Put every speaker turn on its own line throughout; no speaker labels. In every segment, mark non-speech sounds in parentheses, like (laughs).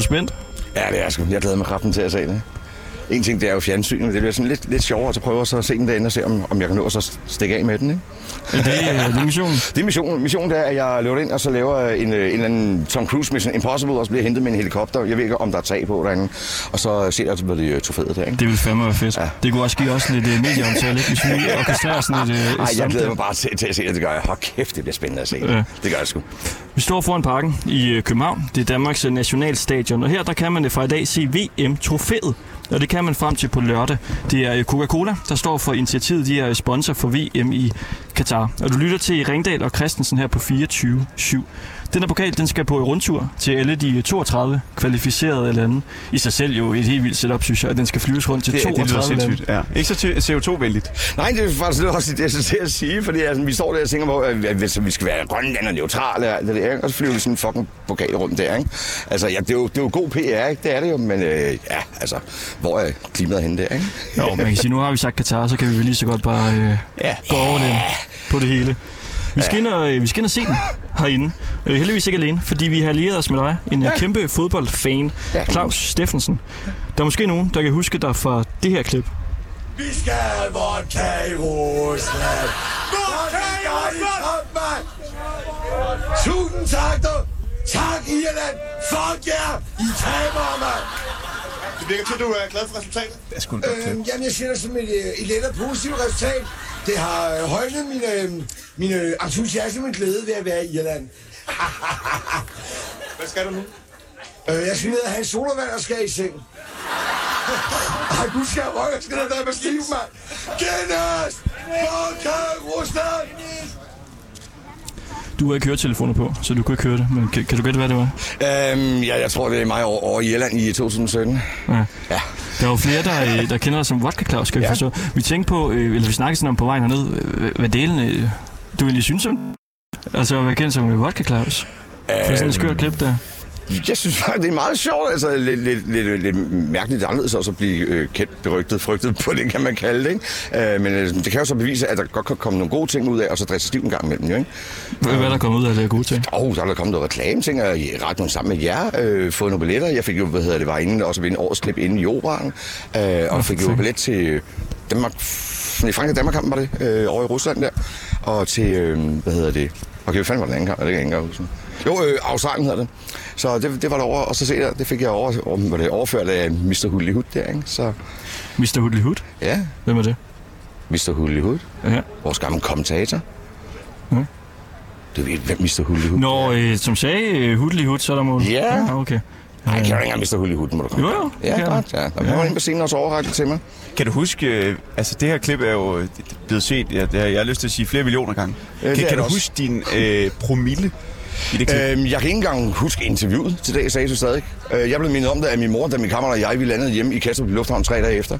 spændt?
Ja, det er jeg sgu. Jeg glæder mig kraften til at se det. En ting, det er jo fjernsynet, men det bliver sådan lidt, lidt sjovere at prøve at så se den derinde og se, om, om jeg kan nå at så stikke af med den. Ikke?
Er det, øh, det er missionen?
Det er missionen. Missionen det er, at jeg løber ind, og så laver en, øh, en eller anden Tom Cruise Mission Impossible, og så bliver jeg hentet med en helikopter. Jeg ved ikke, om der er tag på derinde. Og så ser jeg, hvad det er trofæet der, ikke?
Det vil fandme være fedt. Ja.
Ja.
Det kunne også give os lidt uh, medieomtale, ikke? hvis vi orkestrerer sådan et... Uh,
Ej, jeg glæder mig bare til, til at se det. Det gør jeg. Hold kæft, det bliver spændende at se.
Ja.
Ja. Det gør jeg sgu.
Vi står foran parken i øh, København. Det er Danmarks øh, nationalstadion, og her der kan man øh, fra i dag se VM-trofæet. Og det kan man frem til på lørdag. Det er øh, Coca-Cola, der står for initiativet. De er øh, sponsor for VM i Katar. Og du lytter til Ringdal og Christensen her på 24-7. Den her pokal, den skal på rundtur til alle de øh, 32 kvalificerede lande. I sig selv jo et helt vildt setup, synes jeg. at Den skal flyves rundt til
Det, det lyder
32 lande.
sindssygt. Ja. Ikke så ty- CO2-venligt.
Nej, det er faktisk lidt også det, jeg skal til at sige, fordi altså, vi står der og tænker på, at at hvis vi skal være grønland og neutrale og alt det der, ikke? og så flyver vi sådan en fucking pokal rundt der, ikke? Altså, ja, det, er jo, det er jo god PR, ikke? Det er det jo, men øh, ja, altså, hvor er klimaet henne der, ikke?
Jo, man kan sige, nu har vi sagt Katar, så kan vi vel lige så godt bare øh, ja. gå over den på det hele. Vi skal, ind og, øh, vi skal ind og se den herinde. Øh, heldigvis ikke alene, fordi vi har allieret os med dig, en ja. kæmpe fodboldfan, ja.
Ja.
Claus Steffensen. Der er måske nogen, der kan huske dig fra det her klip.
Vi skal have vodka i Rusland. Vodka i Rusland, mand! Tusind tak, du. Tak, Irland. Fuck jer. I taber, mand.
Det virker til, at du er glad for resultatet.
Det er sgu en godt klip.
Øhm, jamen, jeg ser det som et, øh, et let og positivt resultat. Det har øh, højnet min, øh, min øh, entusiasme og glæde ved at være i Irland.
Hvad skal du nu?
Øh, jeg skal ned og have en solvand og skal i seng. (laughs) Ej, du skal røge, jeg skal ned og være med stiv, mand. Guinness! Vodka i Rusland!
Du har ikke høretelefoner på, så du kunne ikke høre det, men kan, kan du gætte, hvad det var?
Øhm, ja, jeg tror, det er mig over, over i Irland i 2017.
Ja.
Ja.
Der er jo flere, der, øh, der kender dig som Vodka Claus, kan ja.
Ja.
forstå. Vi tænkte på, øh, eller vi snakkede sådan om på vejen herned, øh, hvad delen øh, du egentlig synes om. Altså at være kendt som øh, Vodka Claus. Det er sådan et skørt klip der.
Jeg synes faktisk, det er meget sjovt, altså lidt, lidt, lidt, lidt mærkeligt anderledes også at blive øh, kendt, berygtet, frygtet på det, kan man kalde det, ikke? Øh, men øh, det kan jo så bevise, at der godt kan komme nogle gode ting ud af, og så dresse stiv en gang imellem, jo, ikke?
Hvad, hvad er der kommet ud af det her gode ting?
Åh, oh, der er der kommet noget reklame, tænker jeg, i radioen sammen med jer, øh, fået nogle billetter. Jeg fik jo, hvad hedder det, var inde, også vinde årets klip inde i operan, øh, og fik jo billet til Danmark, nej, Frankrig Danmark kampen var det, øh, over i Rusland der, og til, øh, hvad hedder det, okay, hvad fanden var den anden kamp, Ja, det kan jeg ikke engang huske. Jo, øh, Australien hedder det. Så det, det var derovre, og så se der, det fik jeg over, om, var det overført af Mr. Hullyhood der, ikke? Så
Mr. Hoodly Hood?
ja,
Hvem er det?
Mr. Hullyhood,
Ja.
vores gamle kommentator.
Mhm.
Du ved, hvem Mr. Hullyhood
Når, øh, som sagde, Hoodly Hood, så er der mål. Ah,
Ja.
okay. Øh,
Nej, jeg kan jo ikke engang miste hul i huden, må du komme.
Jo, jo, det
Ja,
kan
godt.
jeg.
Ja. Og han var inde på scenen og så overrækte det til mig.
Kan du huske, øh, altså det her klip er jo øh, det- det er blevet set, ja, det har, jeg har lyst til at sige flere millioner gange.
Øh, det
kan kan
er det
du
også.
huske din øh, promille i det klip? Øh,
Øhm, jeg kan ikke engang huske interviewet til dag, sagde du stadig. Øh, jeg blev mindet om det af min mor, da min kammerat og jeg, vi landede hjemme i Kastrup Lufthavn tre dage efter.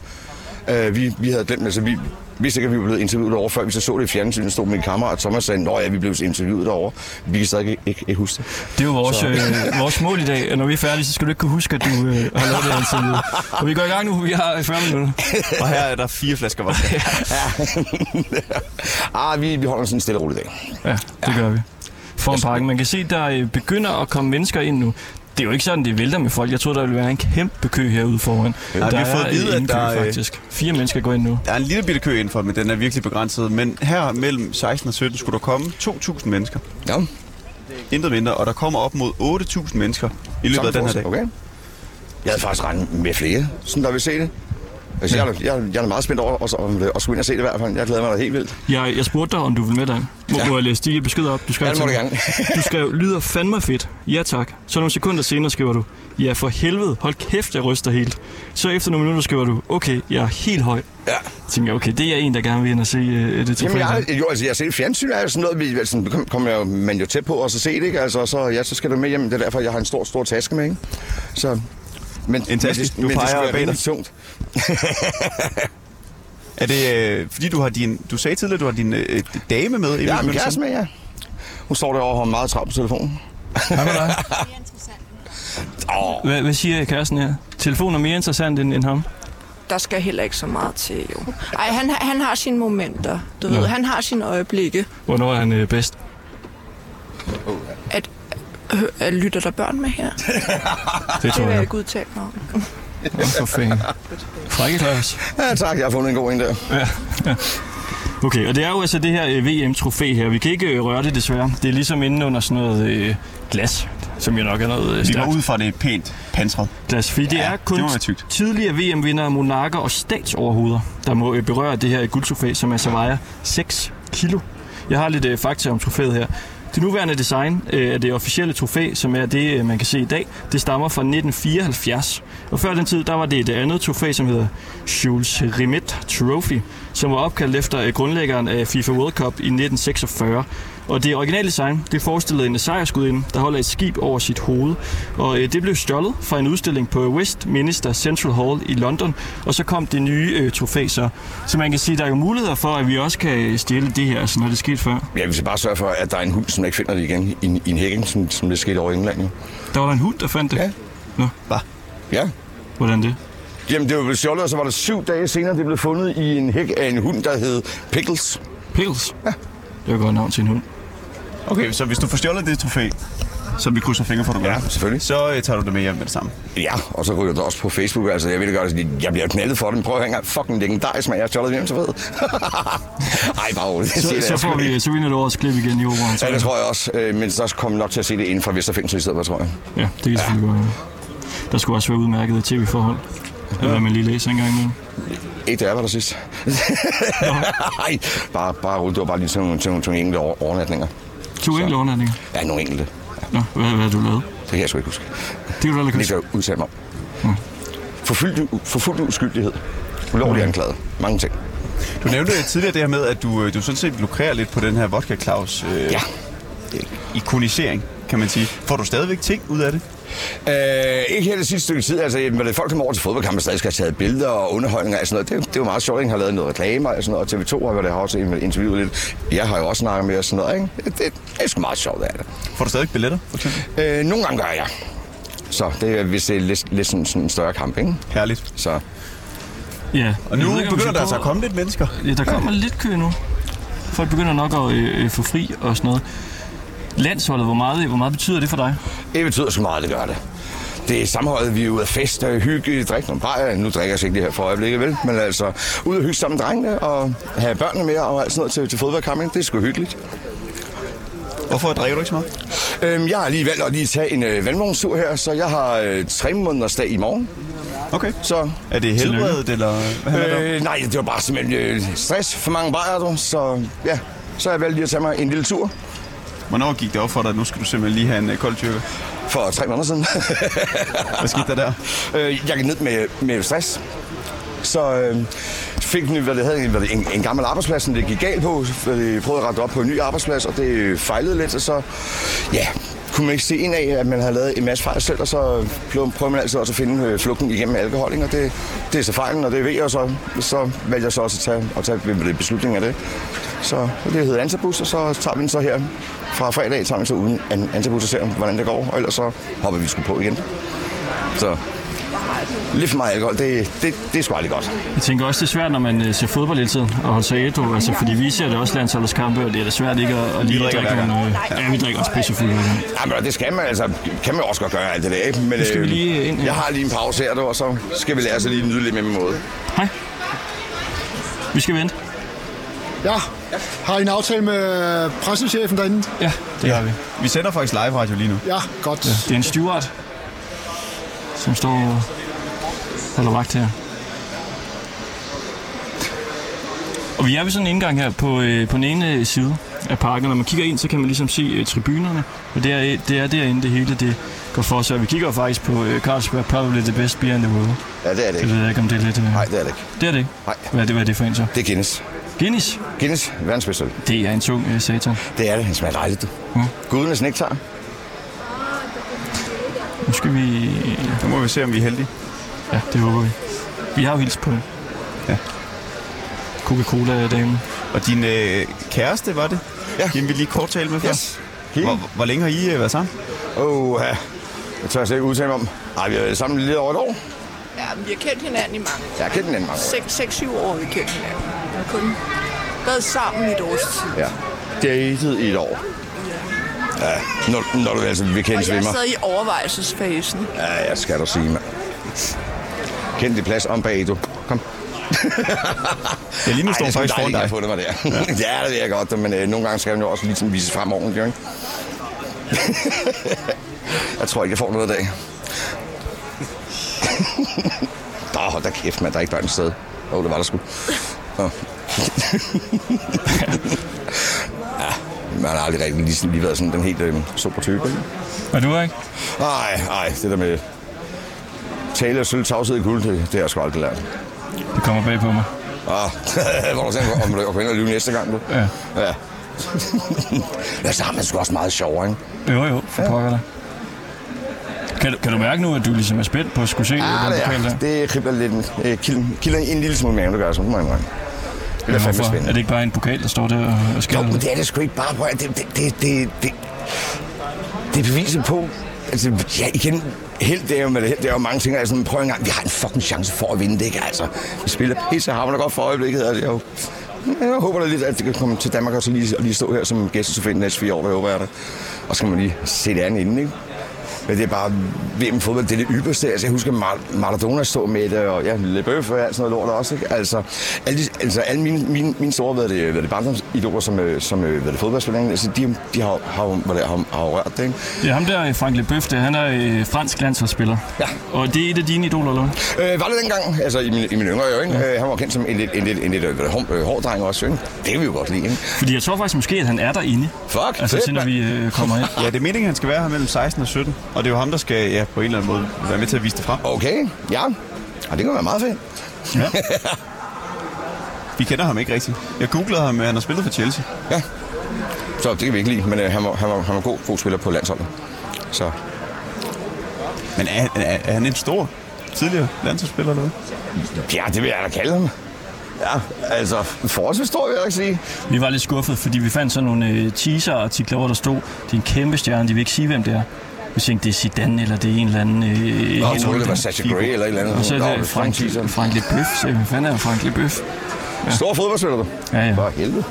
Øh, vi, vi havde glemt, altså vi vidste ikke, at vi var blevet interviewet derovre, før vi så så det i fjernsynet, stod min kammerat og Thomas sagde, Nå ja, vi blev interviewet derovre. Vi kan stadig ikke, ikke, ikke huske det.
Det er jo vores, øh, vores mål i dag. Når vi er færdige, så skal du ikke kunne huske, at du øh, har lavet det her interview. Og vi går i gang nu. Vi har 40 minutter.
og her er der fire flasker vodka.
(laughs) ah, vi, vi holder sådan en stille og rolig dag.
Ja, det gør vi. Foran parken. Man kan se, der øh, begynder at komme mennesker ind nu. Det er jo ikke sådan, det vælter med folk. Jeg troede, der ville være en kæmpe kø herude foran.
Nej, vi
der
har fået
er øh,
at vide,
en
at der
kø,
er-
faktisk. Fire mennesker går ind nu.
Der er en lille bitte kø indenfor, men den er virkelig begrænset. Men her mellem 16 og 17 skulle der komme 2.000 mennesker.
Ja,
Intet mindre. Og der kommer op mod 8.000 mennesker i løbet af den her dag.
Okay. Jeg havde faktisk regnet med flere, sådan der vil se det. Altså, jeg, er, jeg, er- jeg er meget spændt over at, at, at skulle ind og se det i hvert fald. Jeg glæder mig da helt vildt.
Jeg, jeg spurgte dig, om du ville med dig. Må, ja.
Ja.
må jeg læse de her beskeder op? Du skrev
Ja, det må
til
du
mig.
gerne. (laughs)
du skrev, lyder fandme fedt. Ja tak. Så nogle sekunder senere skriver du, ja for helvede, hold kæft, jeg ryster helt. Så efter nogle minutter skriver du, okay, jeg er helt høj.
Ja.
Så tænker jeg, okay, det er en, der gerne vil ind og se øh, det
Jamen,
trofæ.
jeg,
her.
har- jo, altså, jeg har set fjernsyn, er jo sådan noget, vi, altså, sådan, kom- kommer jeg, jo- man jo tæt på, og så se det, ikke? Altså, og så, ja, så skal du med hjem. Det er derfor, jeg har en stor, stor taske med, ikke? Så, men,
En taske?
men det,
Du
men det
peger
skal
bag
være
dig.
rimelig tungt.
Er det øh, fordi, du har din... Du sagde tidligere, at du har din øh, dame med? i
Ja, min
begyndelsen?
kæreste med, ja. Hun står derovre og har meget travlt på telefonen.
Hvad, hvad siger kæresten her? Telefonen er mere interessant end, end ham.
der skal heller ikke så meget til, jo. Ej, han, han har sine momenter, du ved. Han har sine øjeblikke.
Hvornår er han øh, bedst?
At Øh, lytter der børn med her?
Det
Det
tror
vil jeg
jeg.
ikke udtale mig om.
For
(laughs)
fanden. Frække Claus.
Ja, tak. Jeg har fundet en god en der.
(laughs) Okay, og det er jo altså det her øh, VM-trofæ her. Vi kan ikke øh, røre det desværre. Det er ligesom inde under sådan noget øh, glas, som jo nok er noget øh,
Vi går
stærkt
ud fra det er pænt pansret.
glas. Fordi det
Ja,
er
det
kun
må være tykt.
tidligere VM-vindere, monarker og statsoverhoveder, der må øh, berøre det her øh, guldtrofæ, som altså vejer 6 kilo. Jeg har lidt øh, fakta om trofæet her. Det nuværende design øh, af det officielle trofæ, som er det, øh, man kan se i dag, det stammer fra 1974. Og før den tid, der var det et øh, andet trofæ, som hedder Jules Rimet Trophy, som var opkaldt efter øh, grundlæggeren af FIFA World Cup i 1946. Og det originale design, det forestillede en sejrskudinde, der holder et skib over sit hoved. Og øh, det blev stjålet fra en udstilling på Westminster Central Hall i London, og så kom det nye øh, trofæ så. Så man kan sige, der er jo muligheder for, at vi også kan øh, stjæle det her, sådan har det sket før.
Ja, vi skal bare sørge for, at der er en hund, som ikke finder det igen. I, en- i en hækken, som, som det skete over i England. Jo.
Der var der en hund, der fandt det.
Ja.
Nå,
Ja.
hvordan det?
Jamen, det var blevet sjovt, og så var det syv dage senere, det blev fundet i en hæk af en hund, der hed Pickles.
Pils? Ja. Det var et godt navn til en hund.
Okay, så hvis du får stjålet det trofæ, som vi krydser fingre for, du gør,
Ja, selvfølgelig.
så øh, tager du det med hjem med det samme.
Ja, og så ryger det også på Facebook. Altså, jeg ved det godt, at jeg bliver knaldet for den. Prøv at hænge fucking legendarisk, men jeg har stjålet hjem så ved. (laughs) Ej, bare roligt. Det siger
Så,
jeg
så
sgu
får
ikke.
vi, øh, så vinder du årets klip igen i operan.
Ja, det tror jeg også. Øh, men så kommer vi nok til at se det inden for Vesterfængsel i stedet, for, tror jeg.
Ja, det kan selvfølgelig godt være. Der skulle også være udmærket tv-forhold. Eller hvad man lige læser engang imellem.
Ikke da jeg var der sidst. (laughs) Nej, bare, bare roligt. Det var bare lige sådan nogle, sådan nogle, sådan nogle enkelte over- overnatninger.
To enkelte overnatninger.
Ja, nogle enkelte.
Nå, hvad, hvad har du lavet?
Det kan jeg sgu ikke huske.
Det kan du heller ikke
Det
huske.
kan jeg udtale mig om.
Mm.
Forfyldt, forfuldt uskyldighed. Ulovlig
Mm.
anklaget. Mange ting.
Du nævnte tidligere det her med, at du, øh, du sådan set lukrerer lidt på den her vodka Claus øh,
Ja.
ikonisering, kan man sige. Får du stadigvæk ting ud af det?
Øh, ikke her det sidste stykke tid. Altså, jamen, folk kommer over til fodboldkampe, stadig skal have taget billeder og underholdninger og sådan noget. Det, det er jo meget sjovt, at har lavet noget reklamer og sådan noget. Og TV2 har været der har også interviewet lidt. Jeg har jo også snakket med og sådan noget. Ikke? Det, det, er sgu meget sjovt, det er det.
Får du stadigvæk billetter, for eksempel?
Øh, nogle gange gør jeg. Så det er, hvis det er lidt, lidt sådan, sådan en større kamp, ikke?
Herligt.
Så
Ja.
Og nu
Jeg ved ikke, om vi
begynder
skal
der altså
prøve-
at komme lidt mennesker.
Ja, der kommer lidt kø nu. Folk begynder nok at øh, øh, få fri og sådan noget. Landsholdet, hvor meget, hvor meget betyder det for dig?
det betyder så meget, det gør det. Det er sammenholdet, vi er ude at feste, hygge, drikke nogle bajer. Nu drikker jeg så ikke lige her for øjeblikket, vel? Men altså, ud og hygge sammen med drengene og have børnene med og alt sådan noget til, til fodboldkampen. Det er sgu hyggeligt.
Hvorfor drikker du ikke så meget?
Øhm, jeg har lige valgt at lige tage en øh, vandvognstur her, så jeg har øh, tre måneders dag i morgen.
Okay.
Så,
Er det helbredet, eller hvad handler det om?
øh, nej, det var bare simpelthen øh, stress for mange bajer, du. Så ja, så har jeg valgt lige at tage mig en lille tur
Hvornår gik det op for dig, at nu skal du simpelthen lige have en øh, kold tyrker?
for tre måneder siden.
Hvad skete der der?
(laughs) øh, jeg gik ned med, med stress. Så øh, fik den, hvad det havde, hvad det, en, en gammel arbejdsplads, som det gik galt på. Hvad Det, prøvede at rette op på en ny arbejdsplads, og det øh, fejlede lidt. Og så ja, kunne man ikke se en af, at man havde lavet en masse fejl selv, og så blev- prøver man altid også at finde øh, flugten igennem alkohol. Ikke? Og det, det er så fejlen, og det ved jeg så. Så valgte jeg så også at tage, at tage hvad det, beslutningen af det. Så det hedder Antabus, og så tager vi den så her fra fredag, tager vi så uden an- Antabus og ser, hvordan det går. Og ellers så hopper vi sgu på igen. Så Lidt for meget alkohol, det, det, det er sgu aldrig godt.
Jeg tænker også, det er svært, når man øh, ser fodbold hele tiden og holder sig ædru, altså, fordi vi ser det også landsholdets kampe, og det er da svært ikke at, at lige
drikker
drikke
hver gang.
nogle... Øh, ja, vi drikker også pisse fuldt.
Ja, men det skal man altså, kan man også godt gøre alt det der, ikke? Men, øh,
Nu skal vi lige ind her.
Jeg har lige en pause her, du, og så skal vi lære os at lige nyde lidt med min måde.
Hej. Vi skal vente.
Ja, har I en aftale med pressechefen derinde?
Ja, det har vi.
Vi sender faktisk live radio lige nu.
Ja, godt.
Det er en steward, som står og holder vagt her. Og vi er ved sådan en indgang her på, øh, på den ene side af parken. Når man kigger ind, så kan man ligesom se øh, tribunerne. Og det er, øh, det er derinde, det hele det går for sig. Og vi kigger jo faktisk på øh, Carlsberg, probably the best beer in the world.
Ja, det er det
Det
ikke.
ved jeg ikke, om det er lidt... Øh...
Nej, det er det ikke.
Det er det ikke.
Nej.
Hvad er det, hvad er det for en så?
Det er Guinness.
Guinness?
Guinness, verdensbedste øl.
Det er en tung øh, satan.
Det er det, han smager dejligt, du.
Ja.
Gudenes nektar.
Nu skal vi... øh,
Nu må vi se, om vi er heldige.
Ja, det håber vi. Vi har jo hils på den.
Ja.
Coca-Cola-damen.
Og din øh, kæreste, var det?
Ja.
Hende vi lige kort tale med før.
Yes.
Hvor, hvor længe har I øh, været sammen?
Åh, ja. Jeg tør slet ikke udtale mig om. Ej, vi har været sammen lidt over et år.
Ja, vi har kendt hinanden i mange
Jeg har kendt den anden mange år.
6-7 år har vi kendt hinanden. Vi har kun været sammen i et års tid.
Ja. Datet i et år. Ja, når, når du altså vil kende
Og jeg
svimmer.
sad i overvejelsesfasen.
Ja, jeg skal da sige, mand. Kend dit plads om bag, du. Kom.
Ja, lige nu står
Ej,
hun
det
faktisk
er sgu
foran
dejligt,
dig.
at jeg har fundet mig der. (laughs) ja, det ved jeg godt, men øh, nogle gange skal den jo også lige sådan vises frem ordentligt, ikke? (laughs) jeg tror ikke, jeg får noget i dag. (laughs) Nå, hold da kæft, mand. Der er ikke børn til stede. Åh, oh, det var der sgu. Nå. (laughs) ja, man har aldrig rigtig lige, sådan- lige været sådan den helt øh, super type, ikke?
Og du, ikke?
Nej, nej, det der med tale og sølv, tavshed i guld, det, det har jeg sgu aldrig lært.
Det kommer bag på mig.
Ah, (laughs) hvor du tænker, om du går ind og lyve næste gang, du?
Ja.
Ja. ja, så har man sgu også meget sjovere, ikke?
Jo, jo, for pokker dig. Kan, du- kan du mærke nu, at du ligesom er spændt på at skulle se den pokal der?
Ah, det, det kribler lidt. Øh, kilden, kilder en lille smule i maven, det gør jeg, så må jeg indrømme. Det er fandme
Hvorfor?
spændende.
Er det ikke bare en pokal, der står der og- og
Jo,
skælder?
men det er det sgu ikke bare på. Det, det, det, det, det, det er beviset på. Altså, ja, igen, helt det er jo med det, her, det er jo mange ting, altså, men prøv en gang, vi har en fucking chance for at vinde det, ikke? Altså, vi spiller pisse hammer godt for øjeblikket, og jeg, jo- jeg håber da lidt, at det kan komme til Danmark og så lige, og lige stå her som gæst, så finde næste fire år, det håber jeg da. Og så kan man lige se det andet inden, ikke? Men det er bare VM fodbold, det er det ypperste. Altså, jeg husker Mar- Maradona stå med det, og ja, Leboeuf og alt sådan noget lort også. Ikke? Altså, alle, de, altså, alle mine, mine, mine store, hvad det, hvad det barndomsidoler, som, øh, som øh, hvad det fodboldspillere, altså, de, de har, har, hvad det, har, har rørt det, ikke?
Det er ham der, Frank Leboeuf, det, han er øh, fransk landsholdsspiller.
Ja.
Og det er et af dine idoler, eller hvad?
Øh, var det dengang, altså i min, i min yngre øjne, ja. øh, han var kendt som en lidt, en lidt, en lidt, en lidt hård, øh, hård dreng også, ikke? Det kan vi jo godt lide, ikke?
Fordi jeg tror faktisk måske, at han er derinde.
Fuck,
Altså,
fedt,
til når
mand.
vi øh, kommer ind.
Ja, det er meningen, at han skal være her mellem 16 og 17. Og det er jo ham, der skal ja, på en eller anden måde være med til at vise det frem. Og
Okay, ja. Og det kan være meget fedt.
Ja.
vi kender ham ikke rigtigt. Jeg googlede ham, øh, han har spillet for Chelsea.
Ja. Så det kan vi ikke lide, men øh, han, var, han, var, han var god, god spiller på landsholdet. Så
Men er, er, er han en stor tidligere landsholdsspiller eller hvad?
Ja, det vil jeg da kalde ham. Ja, altså forholdsvis stor, vil jeg da sige.
Vi var lidt skuffet, fordi vi fandt sådan nogle øh, teaser-artikler, hvor der stod, det er en kæmpe stjerne, de vil ikke sige, hvem det er. Vi tænkte, det er Zidane, eller det er en eller anden... Øh,
Nå,
helt
jeg troede,
ung-
det var Sasha Grey eller et eller andet.
Og så
Nå,
er
det er
det Frank,
Frank-
Frank Leboeuf. Så hvem fanden er Frank Leboeuf?
Stor fodboldspiller, du.
Ja, ja.
For helvede.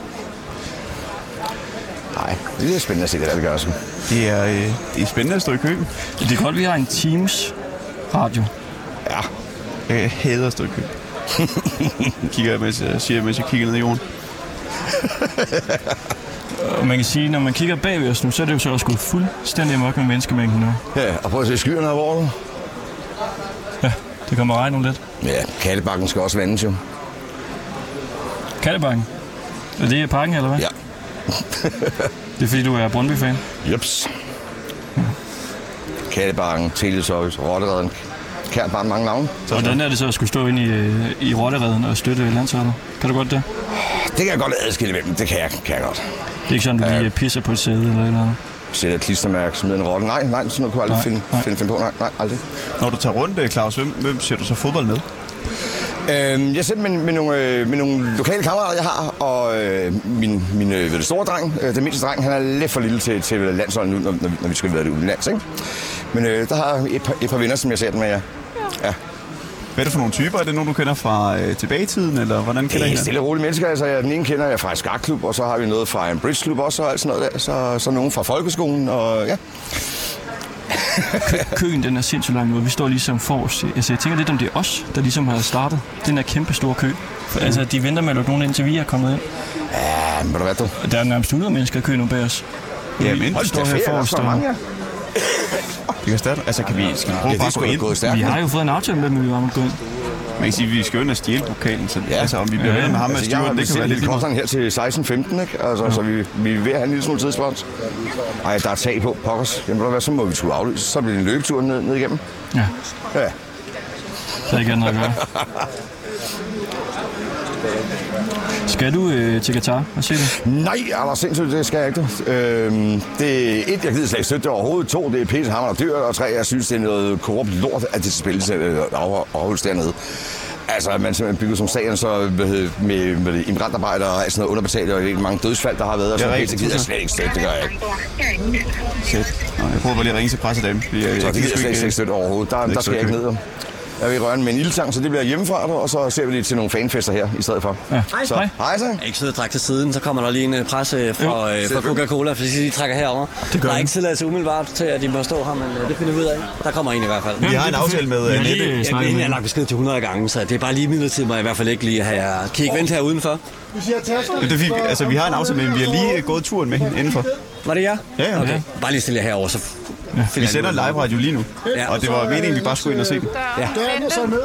Nej, det er spændende at se, det der, det gør sgu.
Det er, øh, det er spændende at stå i kø.
Det er godt, vi har en Teams-radio.
Ja,
Jeg hader at stå i
(laughs)
kø. kigger jeg, mens jeg, siger, jeg, mens jeg kigger ned i jorden.
Og man kan sige, når man kigger bagved os nu, så er det jo så også gået fuldstændig mørkt med menneskemængden nu.
ja og prøv at se skyerne her, hvor du.
Ja, det kommer regn om lidt.
Ja, kattebakken skal også vandes jo.
Kattebakken. Er det i parken, eller hvad?
Ja.
Det er fordi, du er Brøndby-fan.
Jeps. Kattebakken, Teleservice, Rotteredden. Kært bare mange navne.
Hvordan er det så at skulle stå ind i, øh, i Rottereden og støtte landsholdet? Kan du godt det?
Det kan jeg godt adskille imellem. Det kan jeg, kan jeg godt.
Det er ikke sådan, du lige øh, pisser på et sæde eller et eller andet.
Sætter et klistermærke, smider en rotte. Nej, nej, sådan noget kunne jeg aldrig
Nej,
finde,
nej.
finde, finde på. Nej, nej, aldrig.
Når du tager rundt, øh, Claus, hvem, hvem ser du så fodbold med?
Øhm, jeg sidder med, med, nogle, øh, med nogle lokale kammerater, jeg har, og øh, min, min øh, ved det store dreng, øh, den mindste dreng, han er lidt for lille til, til landsholdet nu, når, når, vi- når vi skal være det udenlands, ikke? Men øh, der har jeg et par, et par venner, som jeg ser dem med jer. Ja.
Hvad er det for nogle typer? Er det nogen, du kender fra øh, tilbage i tiden, eller hvordan kender I
Det er
hinanden?
stille og roligt mennesker. Altså, jeg, den ene kender jeg fra en skakklub, og så har vi noget fra en bridgeklub også, og alt sådan noget der. Så, så nogen fra folkeskolen, og ja.
Køen den er sindssygt lang ud. Vi står ligesom forrest. Altså, jeg tænker lidt om det er os, der ligesom har startet den her kæmpe store kø. For, altså, de venter med at lukke nogen ind, til vi er kommet ind.
Ja, men ved du hvad, du?
Og der er nærmest 100 mennesker i køen nu bag os.
Ja, men
Hold
Det er
Står her
ferie, der er
forrest,
så
og-
mange, ja.
det kan starte. Altså, kan vi, skal vi prøve ja,
Ja, det
bare
er
at gå
sgu da
ind?
gået stærkt.
Vi har jo fået en aftale med, at vi var med at gå ind.
Man kan sige, at vi skal jo ind og stjæle pokalen, så
Ja.
ja. altså, om vi bliver
Ja,
ved med ham og
Altså, jeg har
Steven, det kan være lidt
lidt
lige meget.
kosteren her til 16-15, ikke? Altså, Så vi, vi er ved at have en lille smule tidsspons. Ej, der er tag på, pokkers. Jamen, ved du hvad, så må vi skulle aflyse. Så bliver det en løbetur ned, ned igennem.
Ja,
Ja.
så er ikke andet at
(laughs)
gøre. Skal du øh, til Katar og se det?
Nej, Anders, sindssygt, det skal jeg ikke. du. Øhm, det er et, jeg gider slet ikke støtte det overhovedet. To, det er pisse hammer og dyrt. Og tre, jeg synes, det er noget korrupt lort, at det spilles øh, afho- afholdes dernede. Altså, at man simpelthen bygger som stadion, så hvad hedder, med, med det, immigrantarbejdere og alt sådan noget underbetalt, og ikke mange dødsfald, der har været. Og sådan noget,
rigtigt.
det gider jeg slet ikke støtte, det gør jeg ikke.
Sæt. Nå, øh, jeg prøver bare lige at ringe til pressedamen. fordi Jeg, jeg,
Så det
gider
gider jeg
sgu
slet ikke
ikke,
støtte overhovedet. Der, der skal jeg ikke ned. Jeg vil røre med en ildtang, så det bliver hjemmefra, og så ser vi lige til nogle fanfester her i stedet for. Ja.
Hej.
Så,
Hej.
hej så.
Jeg ikke sidde og trække til siden, så kommer der lige en øh, presse fra, øh, fra Coca-Cola, fordi de trækker herover.
gør
Der er
de.
ikke tilladelse umiddelbart til, at de må stå her, men øh, det finder vi ud af. Der kommer en i hvert fald.
Vi har en aftale med
Vi har
øh,
lige,
Nette.
øh,
Jeg,
snakket
jeg,
med
jeg har lagt besked til 100 gange, så det er bare lige midlertidigt, må jeg i hvert fald ikke lige have jer. Kan I ikke vente her udenfor?
Vi siger tasker.
Det er fordi, vi- altså, vi har en aftale med hende. Vi har lige øh, gået turen med hende indenfor.
Var det jer?
Ja, ja.
Okay. Bare lige stille jer herover, så finder
Vi
jeg
sender
ud.
live radio lige nu.
Ja.
Og det var meningen, vi bare skulle ind og se dem.
Døren og så ned.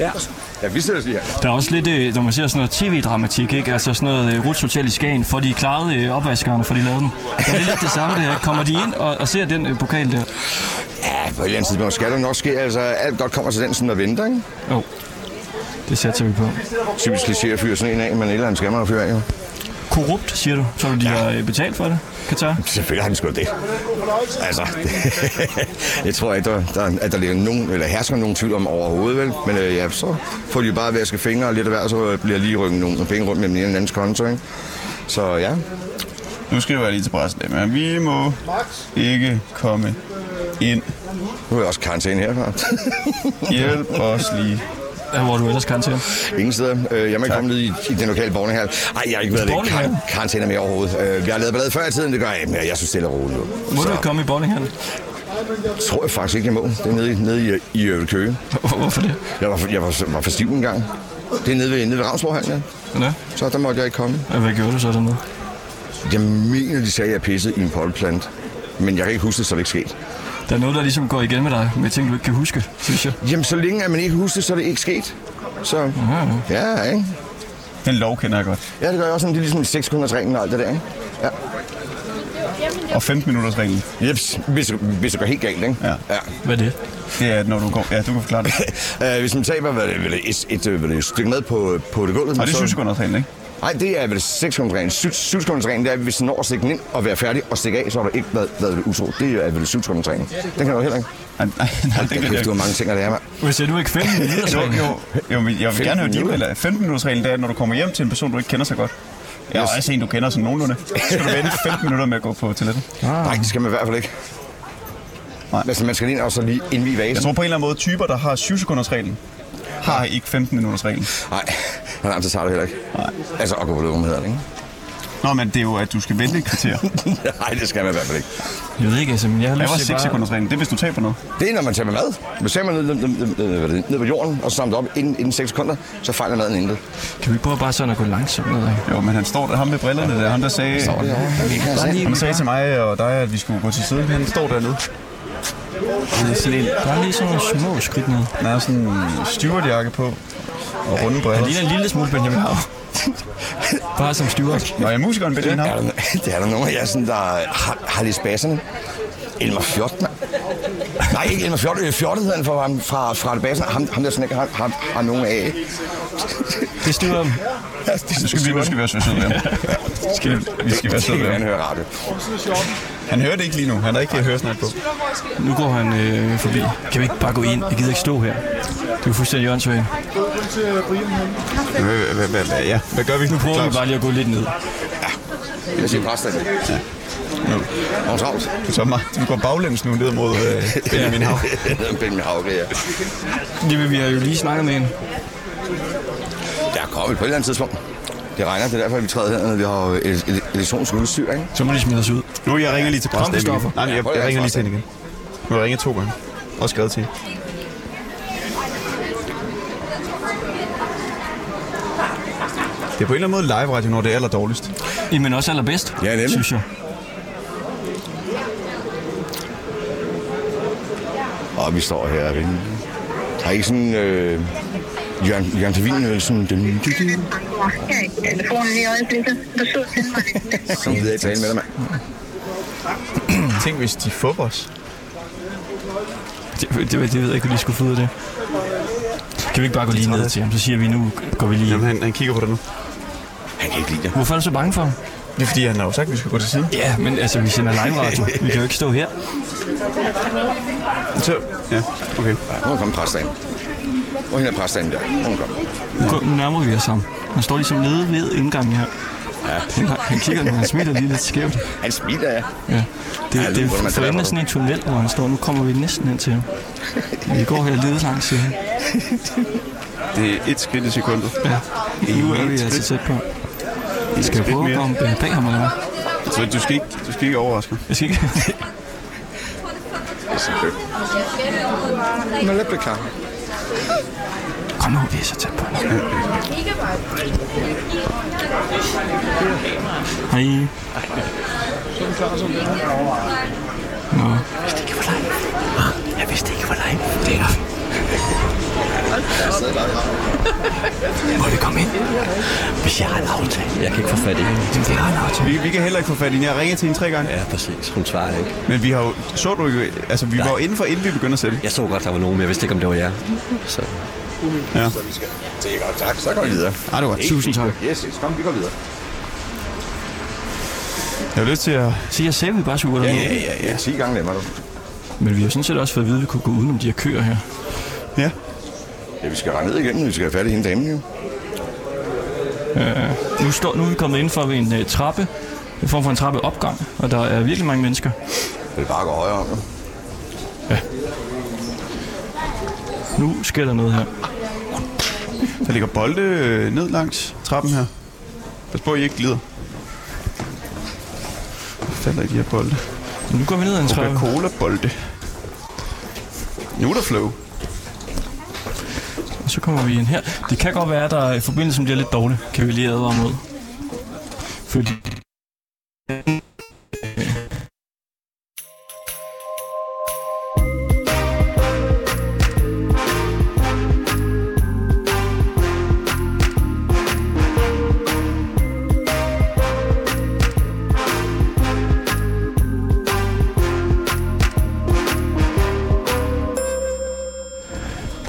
Ja, tak.
Ja, vi sætter os lige her.
Der er også lidt, øh, når man ser sådan noget tv-dramatik, ikke? Altså sådan noget øh, Ruts Hotel i Skagen, for de klarede øh, opvaskerne, for de lavede dem. Så det er lidt det samme der. Kommer de ind og, og ser den øh, pokal der?
Ja, på et eller andet tidspunkt skal der nok ske. Altså, alt godt kommer til den, sådan der venter, ikke?
Jo. Oh. Det satser vi på.
Typisk kliché at fyre sådan en af, men et eller andet skal man jo fyre af, jo.
Korrupt, siger du. Tror du, de har øh, betalt for det, Katar?
Selvfølgelig har han sgu det. Altså, (laughs) jeg tror ikke, der, der, at der ligger nogen, eller hersker nogen tvivl om overhovedet, vel? Men øh, ja, så får de jo bare vaske fingre og lidt af hver, så øh, bliver lige rykket nogle penge rundt mellem den ene og den andens konto, ikke? Så ja,
Nu skriver jeg lige til pressen, men vi må ikke komme ind.
nu er jeg også i karantæne herfra. (laughs)
Hjælp os lige.
Ja, hvor du ellers kan til.
Ingen steder. Øh, jeg må ikke komme ned i, i den lokale bowlinghal. Nej, jeg har ikke været i
Bowlinghal?
kar- karantæne mere overhovedet. Øh, jeg har lavet ballade før i tiden, det gør jeg ikke, men jeg synes stille og roligt. nu.
Må du
Så
ikke komme i bowlinghallen?
tror jeg faktisk ikke, jeg må. Det er nede, i- nede i, i Øvrigt Køge.
Hvorfor det?
Jeg var, jeg var, var for stiv en gang. Det er nede ved, nede ved Ravnsborg, ja.
Nå,
Så der måtte jeg ikke komme.
og hvad gjorde du så dernede?
Jeg mener, de sagde, at jeg pissede i en polleplant. Men jeg kan ikke huske det, så er det ikke sket.
Der er noget, der ligesom går igen med dig, med ting, du ikke kan huske, synes jeg.
Jamen, så længe at man ikke husker det, så er det ikke sket. Så ja, ikke?
Den lov kender jeg godt.
Ja, det gør jeg også sådan, det er ligesom 6 sekunders reglen og alt det der, ikke? Ja.
Og 15 minutters reglen.
Jeps, hvis, det- hvis det går helt galt, ikke?
Ja.
ja.
Hvad er det?
Det er, når du går... Ja, du kan forklare det.
(laughs) Øh, hvis man taber hvad er det, hvad er det, et, et, øh, hvad er det, et stykke mad på, på det gulvet...
Og det
så-
synes jeg godt reglen, ikke?
Nej, det er vel 6 sekunders reglen. 7 sekunders reglen, det er, hvis den når at stikke den ind og være færdig og stikke af, så har du ikke været, været utro. Det er vel 7 sekunders reglen. Den kan du heller ikke.
Nej, nej, nej, det
Jeg
kan jeg
kæft, du
ikke.
har mange ting, at det er, mand.
Hvis jeg nu ikke finder den videre,
Jo,
så
jo, jo, men jeg vil gerne høre dine
minutter.
regler. 15 minutters reglen, det er, når du kommer hjem til en person, du ikke kender så godt. Ja, og også en, du kender sådan nogenlunde. Så skal du vente 15 minutter med at gå på toilettet.
Nej, det skal man i hvert fald ikke.
Ah. Nej.
Nej. Altså, man skal ind og så lige indvige
Jeg
vasen.
tror på en eller anden måde, typer, der har 7 sekunders reglen, har ikke 15 minutters reglen.
Nej, han har tager det heller ikke. Nej. Altså, at gå på lukken hedder det, ikke? (laughs)
Nå, men det er jo, at du skal vente et kvarter.
Nej, det skal man i hvert fald ikke.
Jeg ved ikke, altså, men jeg har
Jeg
lyst
var
til
6
bare...
sekunders reglen. Det er, hvis du taber noget.
Det er, når man tager med mad. Hvis man ned, ned, ned, ned, hvad er det, ned på jorden og samler op inden, inden 6 sekunder, så fejler maden intet.
Kan vi prøve bare sådan at gå langsomt ned? ikke?
Jo, men han står der, ham med brillerne der, ham der sagde... Han sagde til mig og dig, at vi skulle gå til siden. Han står dernede. Han er sådan en,
Bare lige sådan nogle små skridt ned.
han har sådan en stewardjakke på og runde
Han
briller.
ligner en lille smule Benjamin Hav. (laughs) bare som steward.
Nå, jeg er musikeren Benjamin
Er
Hav.
der, (laughs) det er der nogen af jer, sådan, der har, har lidt spasserne. Elmer Fjort, mand. Nej, ikke Elmer Fjort. Øh, Fjortet hedder han fra, ham- fra, fra det basen. Ham, ham der sådan ikke har, har, har nogen af.
Det er stewarden.
Ja, det,
Nu skal vi, nu skal vi også være søde ved ham. Skal vi- Vi skal være søde ved
han
ham.
hører radio.
Han hører det ikke lige nu. Han har ikke høresnat på.
Nu går han øh, forbi. Kan vi ikke bare gå ind? Jeg gider ikke stå her. Det er jo fuldstændig åndssvagt.
Ja, hvad gør vi
Nu prøver vi
Claus?
bare lige at gå lidt ned.
Jeg siger præstanden.
Nu.
Har hun travlt?
Du, tager meget, du går baglæns nu ned mod øh, Benjamin Hav.
Benjamin Havke, ja.
Jamen, vi har jo lige snakket med hende.
Der er kommet på et eller andet tidspunkt. Det regner, det er derfor, at vi træder hernede. Vi har jo et- et elektronisk udstyr, ikke?
Så må de smide os ud.
Nu jeg ringer lige til
Kom,
præsten
Christoffer.
igen. Nej, men jeg, jeg ringer lige til hende igen. Nu har jeg ringet to gange. Og skrevet til hende. Det er på en eller anden måde live radio, når det er aller dårligst.
Jamen også allerbedst,
Ja, nemlig.
synes jeg.
Og vi står her og venter. Har I ikke sådan... Øh, Jørgen, Jørgen Tavin, øh, sådan... Dum, dum, dum,
telefonen i øjeblikket. Du sidder til mig.
som videre i tale med dig, mand.
Tænk, hvis de fupper os.
Det, det, det ved jeg ikke, hvor de skulle få ud af det. Kan vi ikke bare gå lige ned til ham? Så siger vi, nu går vi lige...
Jamen, han, han kigger på dig nu.
Han kan ikke lide det.
Hvorfor er du så bange for ham?
Det er fordi, han har jo sagt, at vi skal gå til siden.
Ja, men altså, vi sender live radio. Vi kan jo ikke stå her.
Så, ja, okay.
Nu er kommet præstagen. Hvor hende er præstagen der? Hun kommer.
Nu kom- Nu nærmer vi os ham. Han står ligesom nede ved indgangen her. Han, har- han kigger, han smiler lige lidt skævt.
Han smiler, ja.
Ja. Det,
Ja,
ja, det,
hvordan
er
man
for
taler
enden
med
af sådan en tunnel, hvor han står. Nu kommer vi næsten ind til ham. Vi går her lidt langt, siger han.
Det er et skridt i sekundet.
Ja. Nu er vi altså tæt på. Vi skal
skridt
prøve at
mere.
komme bag ham, eller hvad?
Så du skal ikke, du skal ikke overraske mig.
Jeg skal ikke...
Hun er lidt beklar.
Kom nu, vi er så tæt på. Hej. Nå.
Jeg vidste ikke, hvor live.
Må vi komme ind?
Hvis jeg har en aftale. Jeg kan ikke få fat i hende.
Det er en aftale.
Vi, vi kan heller ikke få fat i hende. Jeg ringer til hende tre gange.
Ja, præcis. Hun svarer ikke.
Men vi har jo... Så du ikke... Altså, vi var jo inden for, inden vi begyndte at sætte.
Jeg så godt, der var nogen, men jeg vidste ikke, om det var jer. Så.
Det er godt, tak. Så går vi videre.
Ej, det var tusind tak.
Yes, yes, kom, vi går videre.
Jeg har lyst til at...
Så jeg sagde, at vi bare skulle gå derned.
Ja, ja, ja. 10 gange nemmere. du.
Men vi har sådan set også fået at vide, at vi kunne gå udenom de her køer her.
Ja.
Ja, vi skal rende ned igen, vi skal have fat i hende damen jo.
Nu, står, nu er vi kommet indenfor ved en uh, trappe. En form for en trappeopgang. Og der er virkelig mange mennesker.
Det er bare at gå højere om, jo.
Nu sker der noget her.
Der ligger bolde øh, ned langs trappen her. Pas på, at I ikke glider. Jeg falder i de her bolde.
Nu går vi ned ad en trappe.
Coca-Cola-bolde. Nu er der flow.
Og så kommer vi ind her. Det kan godt være, at der i forbindelsen bliver lidt dårlig. Kan vi lige advare mod. Fordi...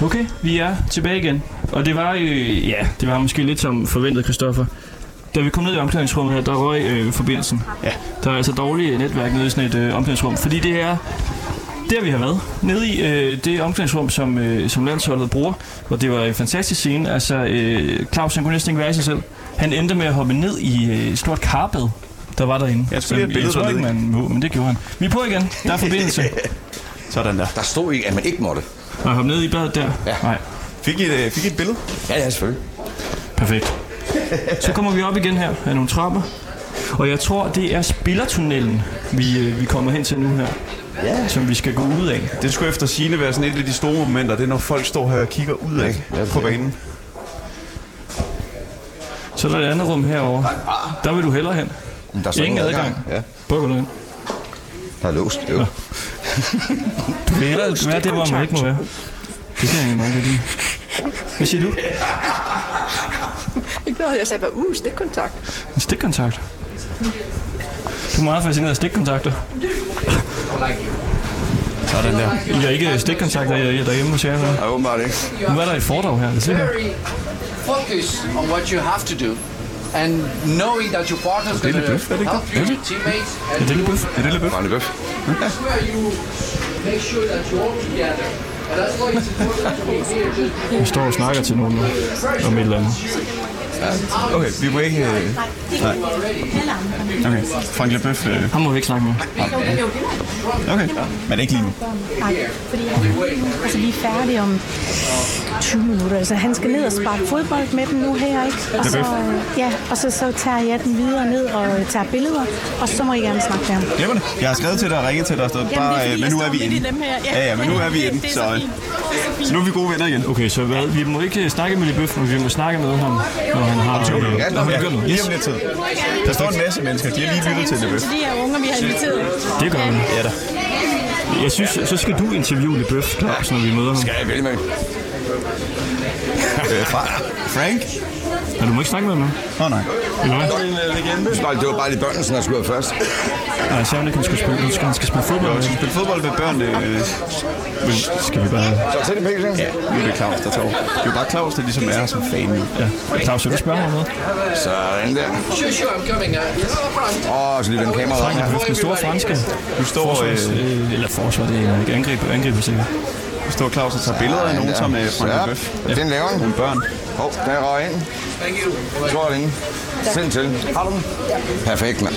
Okay, vi er tilbage igen. Og det var øh, ja, det var måske lidt som forventet, Christoffer. Da vi kom ned i omklædningsrummet her, der røg øh, forbindelsen. Ja. Der er altså dårlige netværk nede i sådan et øh, omklædningsrum, fordi det er der, vi har været. Nede i øh, det omklædningsrum, som, øh, som landsholdet bruger, og det var en fantastisk scene. Altså, øh, Claus, han kunne næsten ikke være i sig selv. Han endte med at hoppe ned i øh, et stort karbad, der var derinde.
Jeg skulle lige have et billede
jeg tror ikke,
dernede.
man må, men det gjorde han. Vi er på igen. Der er forbindelse.
Sådan der.
Der stod ikke, at man ikke måtte.
Og hoppe ned i badet der.
Ja.
Nej.
Fik I et, øh, fik I et billede?
Ja, ja, selvfølgelig.
Perfekt. Så kommer vi op igen her af nogle trapper. Og jeg tror, det er spillertunnelen, vi, øh, vi kommer hen til nu her. Ja. Som vi skal gå ud af.
Det skulle efter sigende være sådan et af de store momenter. Det er, når folk står her og kigger ud af på banen.
Så er der et andet rum herovre. Der vil du hellere hen.
Men Der er så
Ingen adgang.
Ja,
Prøv at gå derind.
der er låst. Jo.
Du vil hellere være det, hvor man ikke må være. Det kan jeg ikke meget godt lide. Hvad siger du?
Ikke noget, jeg sagde bare, uh, stikkontakt.
En stikkontakt. Du er meget fascineret af stikkontakter.
Sådan der.
I har ikke stikkontakter i- i- derhjemme hos jer. eller hvad?
Nej, åbenbart ikke.
Nu er der et foredrag her. Det er
very focused on what you have to do and knowing that your partner's going
lidt
to
bøf, er det ikke
help you, your teammates, and
det lidt bøf?
Er det lidt bøf?
Brænde bøf.
that's where you make sure that you're all together. And that's why it's important to be here just
Vi står og snakker til nogen nu om et eller andet.
Okay, vi må ikke... Øh... Nej. Okay, Frank Leboeuf. Øh...
Ham må vi ikke snakke med.
Okay, men ikke lige nu.
Nej, fordi han, altså, vi er færdige om 20 minutter. Altså, han skal ned og sparke fodbold med dem nu her, ikke? Og så, øh, ja, og så, så tager jeg den videre ned og øh, tager billeder, og så må I gerne snakke med ham.
Glemmer det. Jeg har skrevet til dig og ringet til dig. og stået Bare, øh, men nu er vi inde. Ja, ja, men nu er vi inde. Så, øh, så nu er vi gode venner igen.
Okay, så hvad? Vi må ikke øh, snakke med Lille Bøf, men vi må snakke med ham, når han har...
Ja,
Øh, når han gør noget.
lige om lidt tid. Der står en masse mennesker, de har lige lyttet til Leboeuf.
de her unger, vi har inviteret.
Det gør vi.
Ja da.
Jeg synes, så skal du interviewe Lille Bøf, Claus, når vi møder ham.
Ja, jeg vælger mig.
Øh, fra Frank?
Men du må ikke snakke med ham nu.
Nå nej.
Eller hvad?
Det var bare lige børnene, der skulle have først.
Nej, jeg sagde, at han skal spille, han skal, han skal spille fodbold.
Jeg skal spille fodbold med børn. Øh, men
Skal vi bare...
Så tag det med, ikke?
ja, nu er det Claus, der tager over. Det er jo bare Claus, der ligesom er her som fan nu.
Ja. Claus, vil du spørge mig om noget?
Sådan der.
sure, sure, I'm coming. Uh, yes, up front.
Åh, så lige vende kameraet om
Frank
her.
Lille Bøf, den store franske.
Du står...
Forsvars,
Øh,
øh, eller forsvar, det er ikke angreb, angriber sikkert.
Står Claus og tager billeder af nogen, som
øh,
er fra en bøf.
Den laver han.
Nogle børn.
Hov, den røg ind.
Thank you.
Tror jeg den. Send til. Har du den? Perfekt, mand.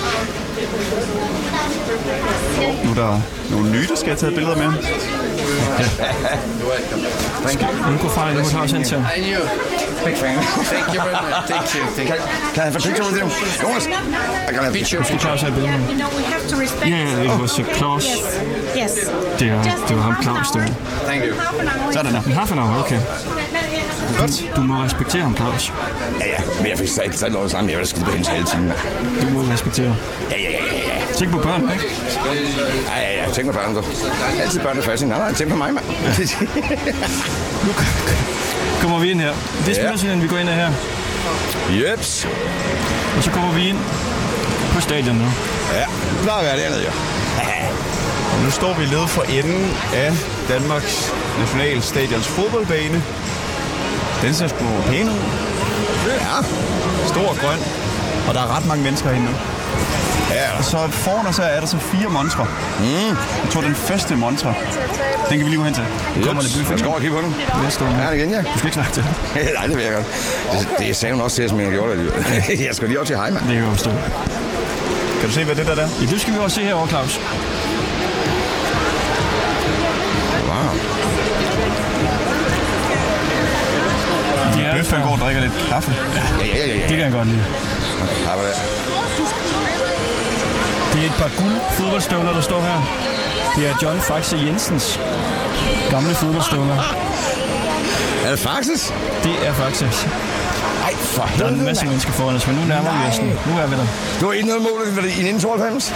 Nu er der nogle nye, der skal have taget billeder med.
Nu går far, nu tager jeg til ham.
And you.
Big fan.
Thank you very much. Thank you. Thank
Kan,
you.
kan jeg få picture with you? Jonas, jeg kan have picture.
Nu skal Claus have billeder.
You know, we have to respect...
Ja, yeah, it was a Claus.
Yes.
Det er, det var ham Claus, det var.
Thank you.
Sådan der.
En half an hour, okay. Du, du må respektere ham, Claus.
Ja, ja, men jeg fik så ikke sat noget sammen. Jeg vil da skide på hendes hele tiden, mand.
Du må respektere.
Ja, ja, ja, ja, ja.
Tænk på børn, ikke?
Ja, ja, ja. Tænk på børn, du. Altid børn er fascinerende. Nej, nej, tænk på mig, mand.
Nu kommer vi ind her. Det er spillersiden, vi går ind af her.
Jeps.
Og så kommer vi ind på stadion nu.
Ja, det plejer at være dernede, jo.
Nu står vi nede for enden af Danmarks Nationalstadions fodboldbane. Den ser sgu pæn ud.
Ja.
Stor og grøn. Og der er ret mange mennesker herinde nu. Ja. Og så foran os her er der så fire monstre. Mm. Jeg tror, den første montre, den kan vi lige gå hen til.
Jeps.
Kommer lidt
Jeg
byfest.
skal over og kigge på den.
Næste år.
Ja, det igen, ja.
Du skal ikke snakke til ham.
(laughs) Nej, det vil jeg godt. Det, det sagde hun også til, som jeg gjorde det. (laughs) Jeg skal lige over til hej, mand.
Det kan jeg forstå.
Kan du se, hvad det der er?
Ja, det skal vi også se herovre, Claus.
Wow.
Det er,
Bøf, han går og drikker lidt kaffe.
Ja, ja, ja, ja.
det kan jeg godt lide.
Hej, hvor er det?
Det er et par guld fodboldstøvler, der står her. Det er John Faxe Jensens gamle fodboldstøvler.
Er det Faxes?
Det er faktisk.
Ej, for
Der er en
helvede,
masse
mand.
mennesker foran os, men nu nærmer vi os den. Nu er vi der.
Du har ikke noget mål i (laughs) 1992?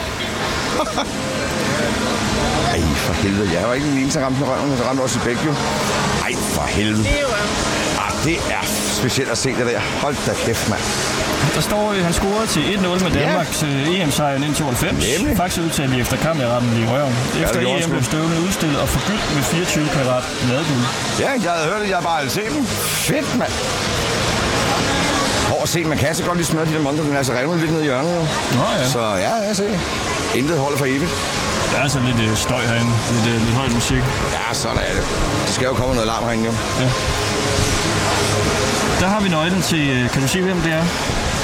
Ej, for helvede. Jeg var ikke den eneste, der ramte med røven, men så ramte også i begge jo. Ej, for helvede. Ah, det er specielt at se det der. Hold da kæft, mand.
Der står, øh, han scorede til 1-0 med Danmarks yeah. EM-sejr i 1992.
Nemlig.
Faktisk udtalte de efter kamp, jeg ramte den lige i røven. Efter
gjorde han
EM
sgu.
blev støvlen udstillet og forgyldt med 24 karat ladeguld.
Ja, jeg havde hørt det. Jeg har bare aldrig set dem. Fedt, mand. Hård at se. Man kan så godt lige smøre de der monter. Den er så revnet lidt ned i hjørnet. Jo.
Nå ja,
Så ja, jeg se. Intet holder for evigt.
der er altså lidt øh, støj herinde. Lidt, øh, lidt høj musik.
Ja, sådan er det. Der skal jo komme noget larm herinde, jo.
Der har vi nøglen til, øh, kan du se, hvem det er?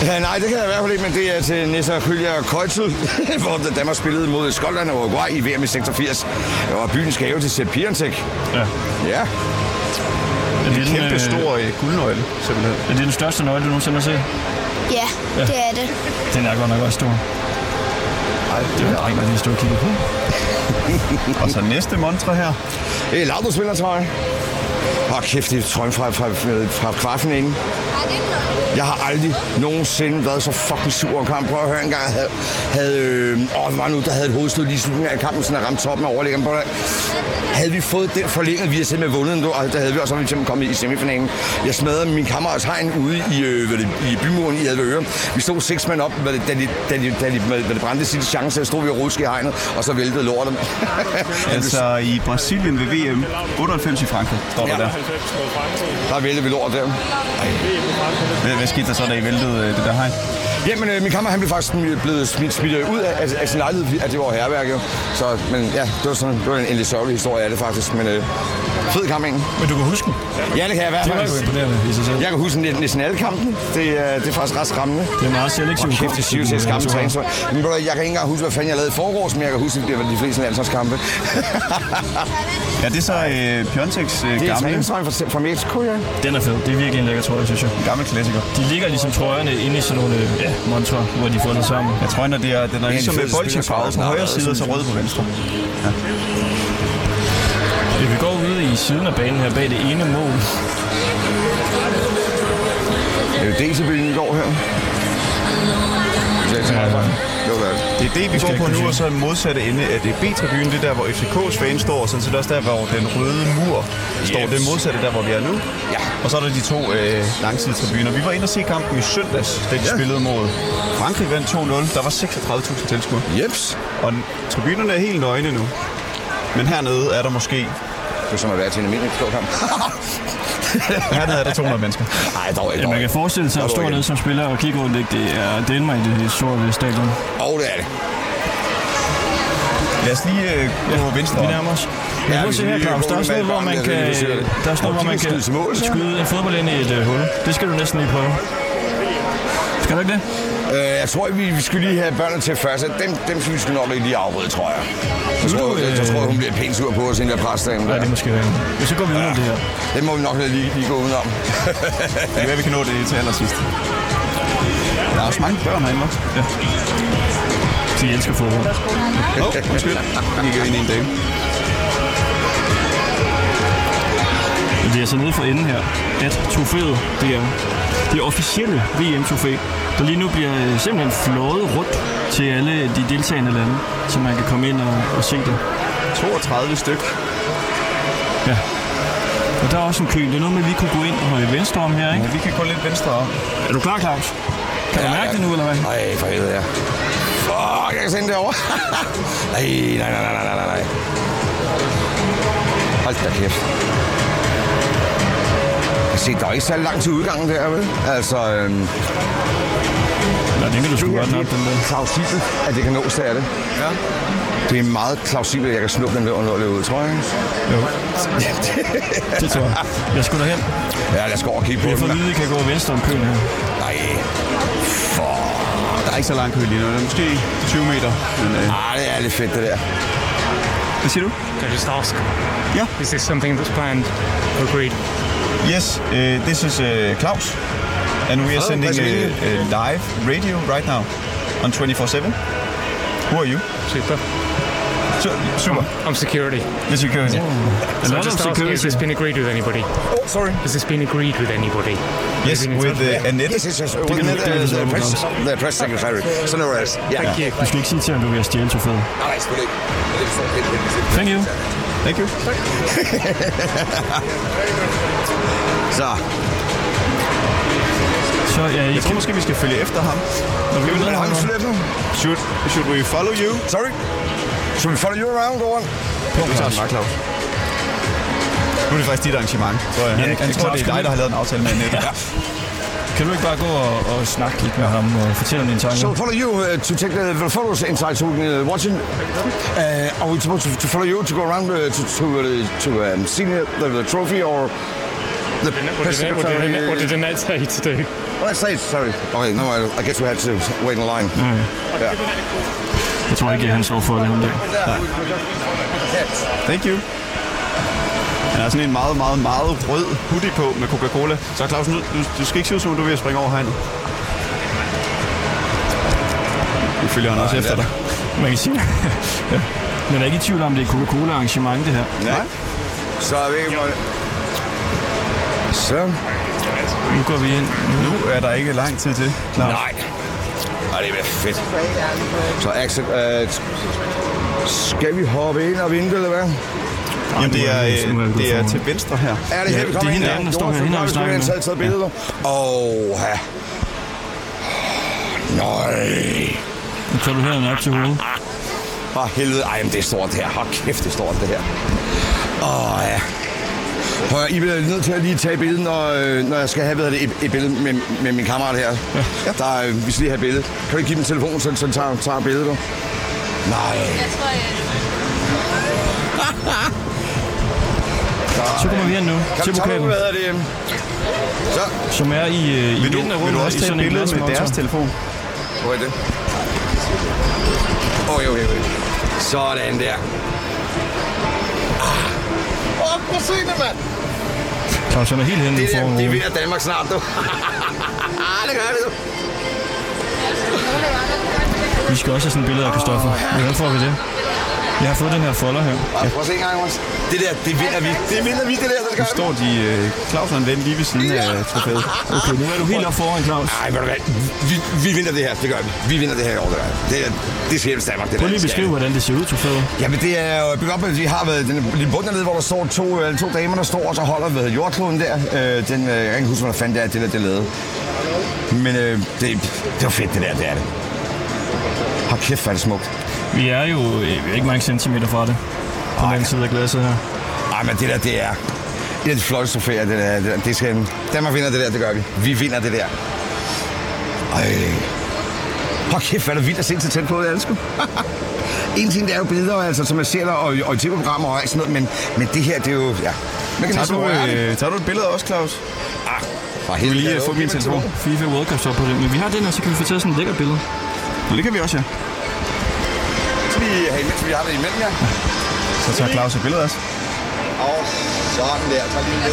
Ja, nej, det kan jeg i hvert fald ikke, men det er til Nissa Hylja Køjtel, (laughs) hvor Danmark spillede mod Skotland og Uruguay i VM i 86. Og byens gave til Sepp Pierentek.
Ja.
Ja,
Er det, den,
Kæmpe
øh,
stor øh, guldnøgle, simpelthen.
er det den største nøgle, du nogensinde har set?
Ja, det er det.
Den er godt nok også stor. Nej, det var ikke, hvad de stod og kiggede på.
Og så næste montre her.
det er Laudrup spiller, tror jeg. Åh, kæft, det er trøjen fra, fra, fra kvartfinalen. Jeg har aldrig nogensinde været så fucking sur om kampen. Prøv at høre en gang, jeg havde, havde øh, åh, det var nu, der havde et hovedstød lige i slutningen af kampen, sådan at ramme toppen af overlæggeren. Prøv at høre. Havde vi fået den forlænget, vi havde simpelthen vundet den, og der havde vi også vi simpelthen kommet i semifinalen. Jeg smadrede min kammerats hegn ude i, øh, hvad det, i bymuren i Advøre. Vi stod seks mand op, hvad det, da, de, da, de, da de, hvad det brændte sidste chance, så stod vi og ruskede i hegnet, og så væltede lortet. (laughs)
Altså i Brasilien ved VM. 98 i Frankrig, står der
Ja.
der.
der væltede vi lort der.
Hvad, hvad skete der så, da I væltede øh, det der hegn?
Jamen, øh, min kammer, han blev faktisk smi- blevet smidt, smidt øh, ud af, af, af sin lejlighed, fordi at det var herværk, jo. Så, men ja, det var, sådan, det var en, en lidt sørgelig historie af det, faktisk. Men øh, fed kamp, ikke?
Men du kan huske den.
Ja, det kan jeg i hvert
Det var jo
fald.
imponerende i sig selv.
Jeg kan huske næsten- næsten alle kampen. Det, øh, det er faktisk ret skræmmende.
Det er meget selektivt.
Og kæft, det siger til at skamme træning. Men ved du hvad, jeg kan ikke engang huske, hvad fanden jeg lavede i forgårs, men jeg kan huske, at det var de fleste landsholdskampe. (laughs)
Ja, det er så øh, Pjonteks øh,
det er
gamle,
træningstrøjen fra, fra Mexico, ja.
Den er fed. Det er virkelig en lækker trøje, synes jeg.
gamle klassiker.
De ligger ligesom trøjerne inde i sådan nogle øh, ja, montre, hvor de er fundet sammen.
Jeg tror, når det er, den er ligesom
fed
med bolsje
spiller, som
farvet på
har
højre
været
side, og så rød på venstre.
Ja, vi går ude i siden af banen her bag det ene mål.
Det er jo DC-byen i går her. Det er ikke så meget fejl. Det var det.
Det er det, vi går på
ikke
nu,
kunne
og så modsatte ende af det B-tribunen, det er der, hvor FCK's fans står, og sådan set også der, hvor den røde mur står. Det er modsatte der, hvor vi er nu.
Ja.
Og så er der de to øh, langsidetribuner. Vi var inde og se kampen i søndags, da de ja. spillede mod Frankrig vandt 2-0. Der var 36.000 tilskuere.
Jeps.
Og n- tribunerne er helt nøgne nu. Men hernede er der måske...
Det er som at være til en almindelig klog kamp.
Hernede er der 200 (laughs) mennesker.
(laughs) Nej, dog ikke.
Ja,
Dog.
man
ikke.
kan forestille sig at
Dog
stå
ikke.
ned som spiller og kigge øh, rundt. Ikke? Det er Danmark i det store stadion.
Og det er det.
Lad os lige øh, gå ja, venstre.
Vi nærmer os. Men prøv at se her, Claus. Der er sådan noget, hvor man kan, der er sådan noget, hvor man kan skyde en fodbold ind i et øh, hul. Det skal du næsten lige prøve. Skal du ikke det?
Øh, jeg tror, vi, vi skal lige have børnene til først. Altså, Dem, dem skal vi sgu nok ikke lige afbryde, tror jeg. Jeg tror, jeg, jeg tror, hun bliver pænt sur på os, inden der præster. Ja,
det øh, er måske rigtigt. Men så går vi udenom det her.
Det må vi nok lige, lige gå udenom.
Det er, hvad vi kan nå det til allersidst. Der er også mange børn herinde, hva'? Ja.
De elsker fodbold.
Åh, oh, undskyld. Vi gik jo ind i en dame.
Men det er så nede for enden her, at trofæet, det er det officielle VM-trofæ, der lige nu bliver øh, simpelthen flået rundt til alle de deltagende lande, så man kan komme ind og, og se det.
32 styk.
Ja. Og der er også en kø. Det er noget med, at vi kunne gå ind og holde venstre om her, ikke?
Vi kan gå lidt venstre om.
Er du klar, Claus? Kan du mærke det nu, eller hvad?
Nej, for helvede, ja. Fuck, jeg kan sende det over. (laughs) nej, nej, nej, nej, nej, nej, nej. Hold da kæft. Jeg ser, der er ikke så langt til udgangen der, vel? Altså, øhm,
Ja, den kan du sgu godt nok, den der.
plausibelt, at det kan nås, det er det.
Ja.
Det er meget plausibelt, at jeg kan snuppe den der og nå at løbe ud, tror jeg. ikke?
Jo, det tror jeg. Jeg skulle derhen.
Ja, lad os gå over og kigge på
Jeg
den.
får at
mand.
vide, at I kan gå venstre om køen her.
Nej. Fuck.
Der er ikke så lang kø lige nu. Det er måske 20 meter. Men, øh,
Ah, det er lidt fedt, det der.
hvad siger du?
I just ask,
Ja.
is this something that's planned or agreed?
Yes, uh, this is uh, Klaus, and we are
Hello,
sending
nice to meet
uh, uh, live radio right now on 24/7. Who are you?
Super.
Su super.
I'm security.
The security.
So
lot
I
of
just asking, has this
security.
been agreed with anybody?
Oh, sorry.
Has this been agreed with anybody?
Yes,
Been in
with
touch?
uh, Annette.
Yes, yes, yes. With the, the, the, press, the press secretary. So no worries. Yeah.
Thank you.
Du skal ikke sige til ham, du vil have stjæle trofæet.
Nej, selvfølgelig ikke. Det er sådan lidt- lidt- lidt-
Thank you.
Thank you.
Så,
Så er I
Jeg tror måske, vi skal følge efter ham.
Når vi er
men
nede
har
her
vi
nu.
slet nu?
Should, should we follow you?
Sorry. Should we follow you around, or what?
På, vi tager den bare, Claus. Nu er det faktisk dit arrangement, tror jeg.
Ja,
Han-
jeg
han
tror,
Claus,
det er
dig,
det.
der har lavet en aftale med Annette. ja.
Kan du ikke bare gå og, og snakke lidt med ham og fortælle om dine tanker?
So follow you uh, to take the, the photos inside to uh, watching. Uh, are we supposed to, to follow you to go around uh, to to, uh, to um, see the, the, the trophy or the
What
press
did, Annette- what, did
secretary?
Annette, what did Annette say to do?
Well, let's say it's sorry. Okay, no, I, I guess we had to wait in line.
Mm.
Jeg tror ikke, at han står for det ham der.
Thank you. Han har sådan en meget, meget, meget rød hoodie på med Coca-Cola. Så Claus, nu, du, du skal ikke se ud som om, du er ved at springe over hegnet. Nu følger han også efter dig.
Man kan sige. (laughs) ja. Men er ikke i tvivl om, det er Coca-Cola-arrangement, det her.
Nej. Så er vi ikke måtte... Så?
Nu går vi ind.
Nu er der ikke lang tid til, Claus.
Nej. Ej, det bliver fedt. Så Axel, øh, skal vi hoppe ind og vente, eller hvad?
Jamen, det er,
Nu er vi
øh,
gået
det er
foran.
til venstre her.
Er det
Ja,
her,
det
vi
er
kommer
hende
ind?
der, der står her. Hende har vi snakket
med.
med.
taget billeder. Åh, ja. Nøj.
Nu tager du hænderne op til hovedet.
For helvede. Ej, men det er stort det her. Hold kæft, det er stort det her. Åh, ja. Prøv at, høre, I bliver nødt til at lige tage billedet, når, øh, når jeg skal have hvad hedder det, et, et billede med, med min kammerat her. Ja. Der, øh, vi skal lige have et billede. Kan du ikke give dem telefonen, så så den tager, tager billedet? du? Nej.
Så kommer vi ind nu til
Kan du tage
pokalen,
hvad hedder det? øhm, Så.
som er i, øh, i
Vil
midten
du,
af
vil
rummet.
du også
i
tage
sådan
et billede med
glasmontre.
deres telefon?
Hvor er det? Okay, okay, okay. Sådan der. Åh, prøv at se det, mand.
Claus, han er helt henne
Det,
nu
der,
foran
det
hovedet.
vinder Danmark snart, du. det gør det, du.
Vi skal også have sådan et billede af Kristoffer. Hvordan får vi det? Jeg har fået den her folder her.
Ej, prøv at se en gang, Jonas. Det der, det vinder vi. Det vinder vi, det der, det
Nu
gør vi.
står de, øh, Claus og en ven, lige ved siden af trofæet.
Okay, nu er du helt op foran, Claus.
Ej, ved du hvad? Vi, vi vinder det her, det gør vi. Vi vinder det her i år, det gør vi. Det, er- det skal hjælpe Danmark, det
Prøv
der.
lige at
Det skal
beskrive,
vi.
hvordan det ser ud, trofæet.
Jamen det er jo bygget op, med, at vi har været den lille bund dernede, hvor der står to, øh, to damer, der står, og så holder ved jordkloden der. Øh, den, øh, jeg kan ikke huske, hvad der fandt det er, det der, det er lavet. Men øh, det, det var fedt, det der, det er det. Hold kæft, hvor er det smukt.
Vi er jo øh, vi er ikke mange centimeter fra det. På den anden side af glasset her.
Ej, men det der, det er... Det er det flotteste trofæer, det der. Det, der. det skal, Danmark vinder det der, det gør vi. Vi vinder det der. Ej. Hold kæft, hvor er det vildt at se så tæt på, det er det sgu. (laughs) en ting, det er jo billeder, altså, som man ser der, og, og i tv-programmer og alt sådan noget, men, men det her, det er jo... Ja. Man kan
Tager
næsten
du,
røre det.
øh, tager du et billede også, Claus?
Ah,
for helvede.
Jeg vil lige
Ja,
få
okay,
min
men
telefon. FIFA World Cup så på det. Men vi har den, og så kan vi få taget sådan et lækkert billede.
Det kan vi også, ja.
Så vi har imens, vi har det imellem, ja.
Så tager Claus et billede også.
Og sådan der. Tag
Altså,
lige lidt.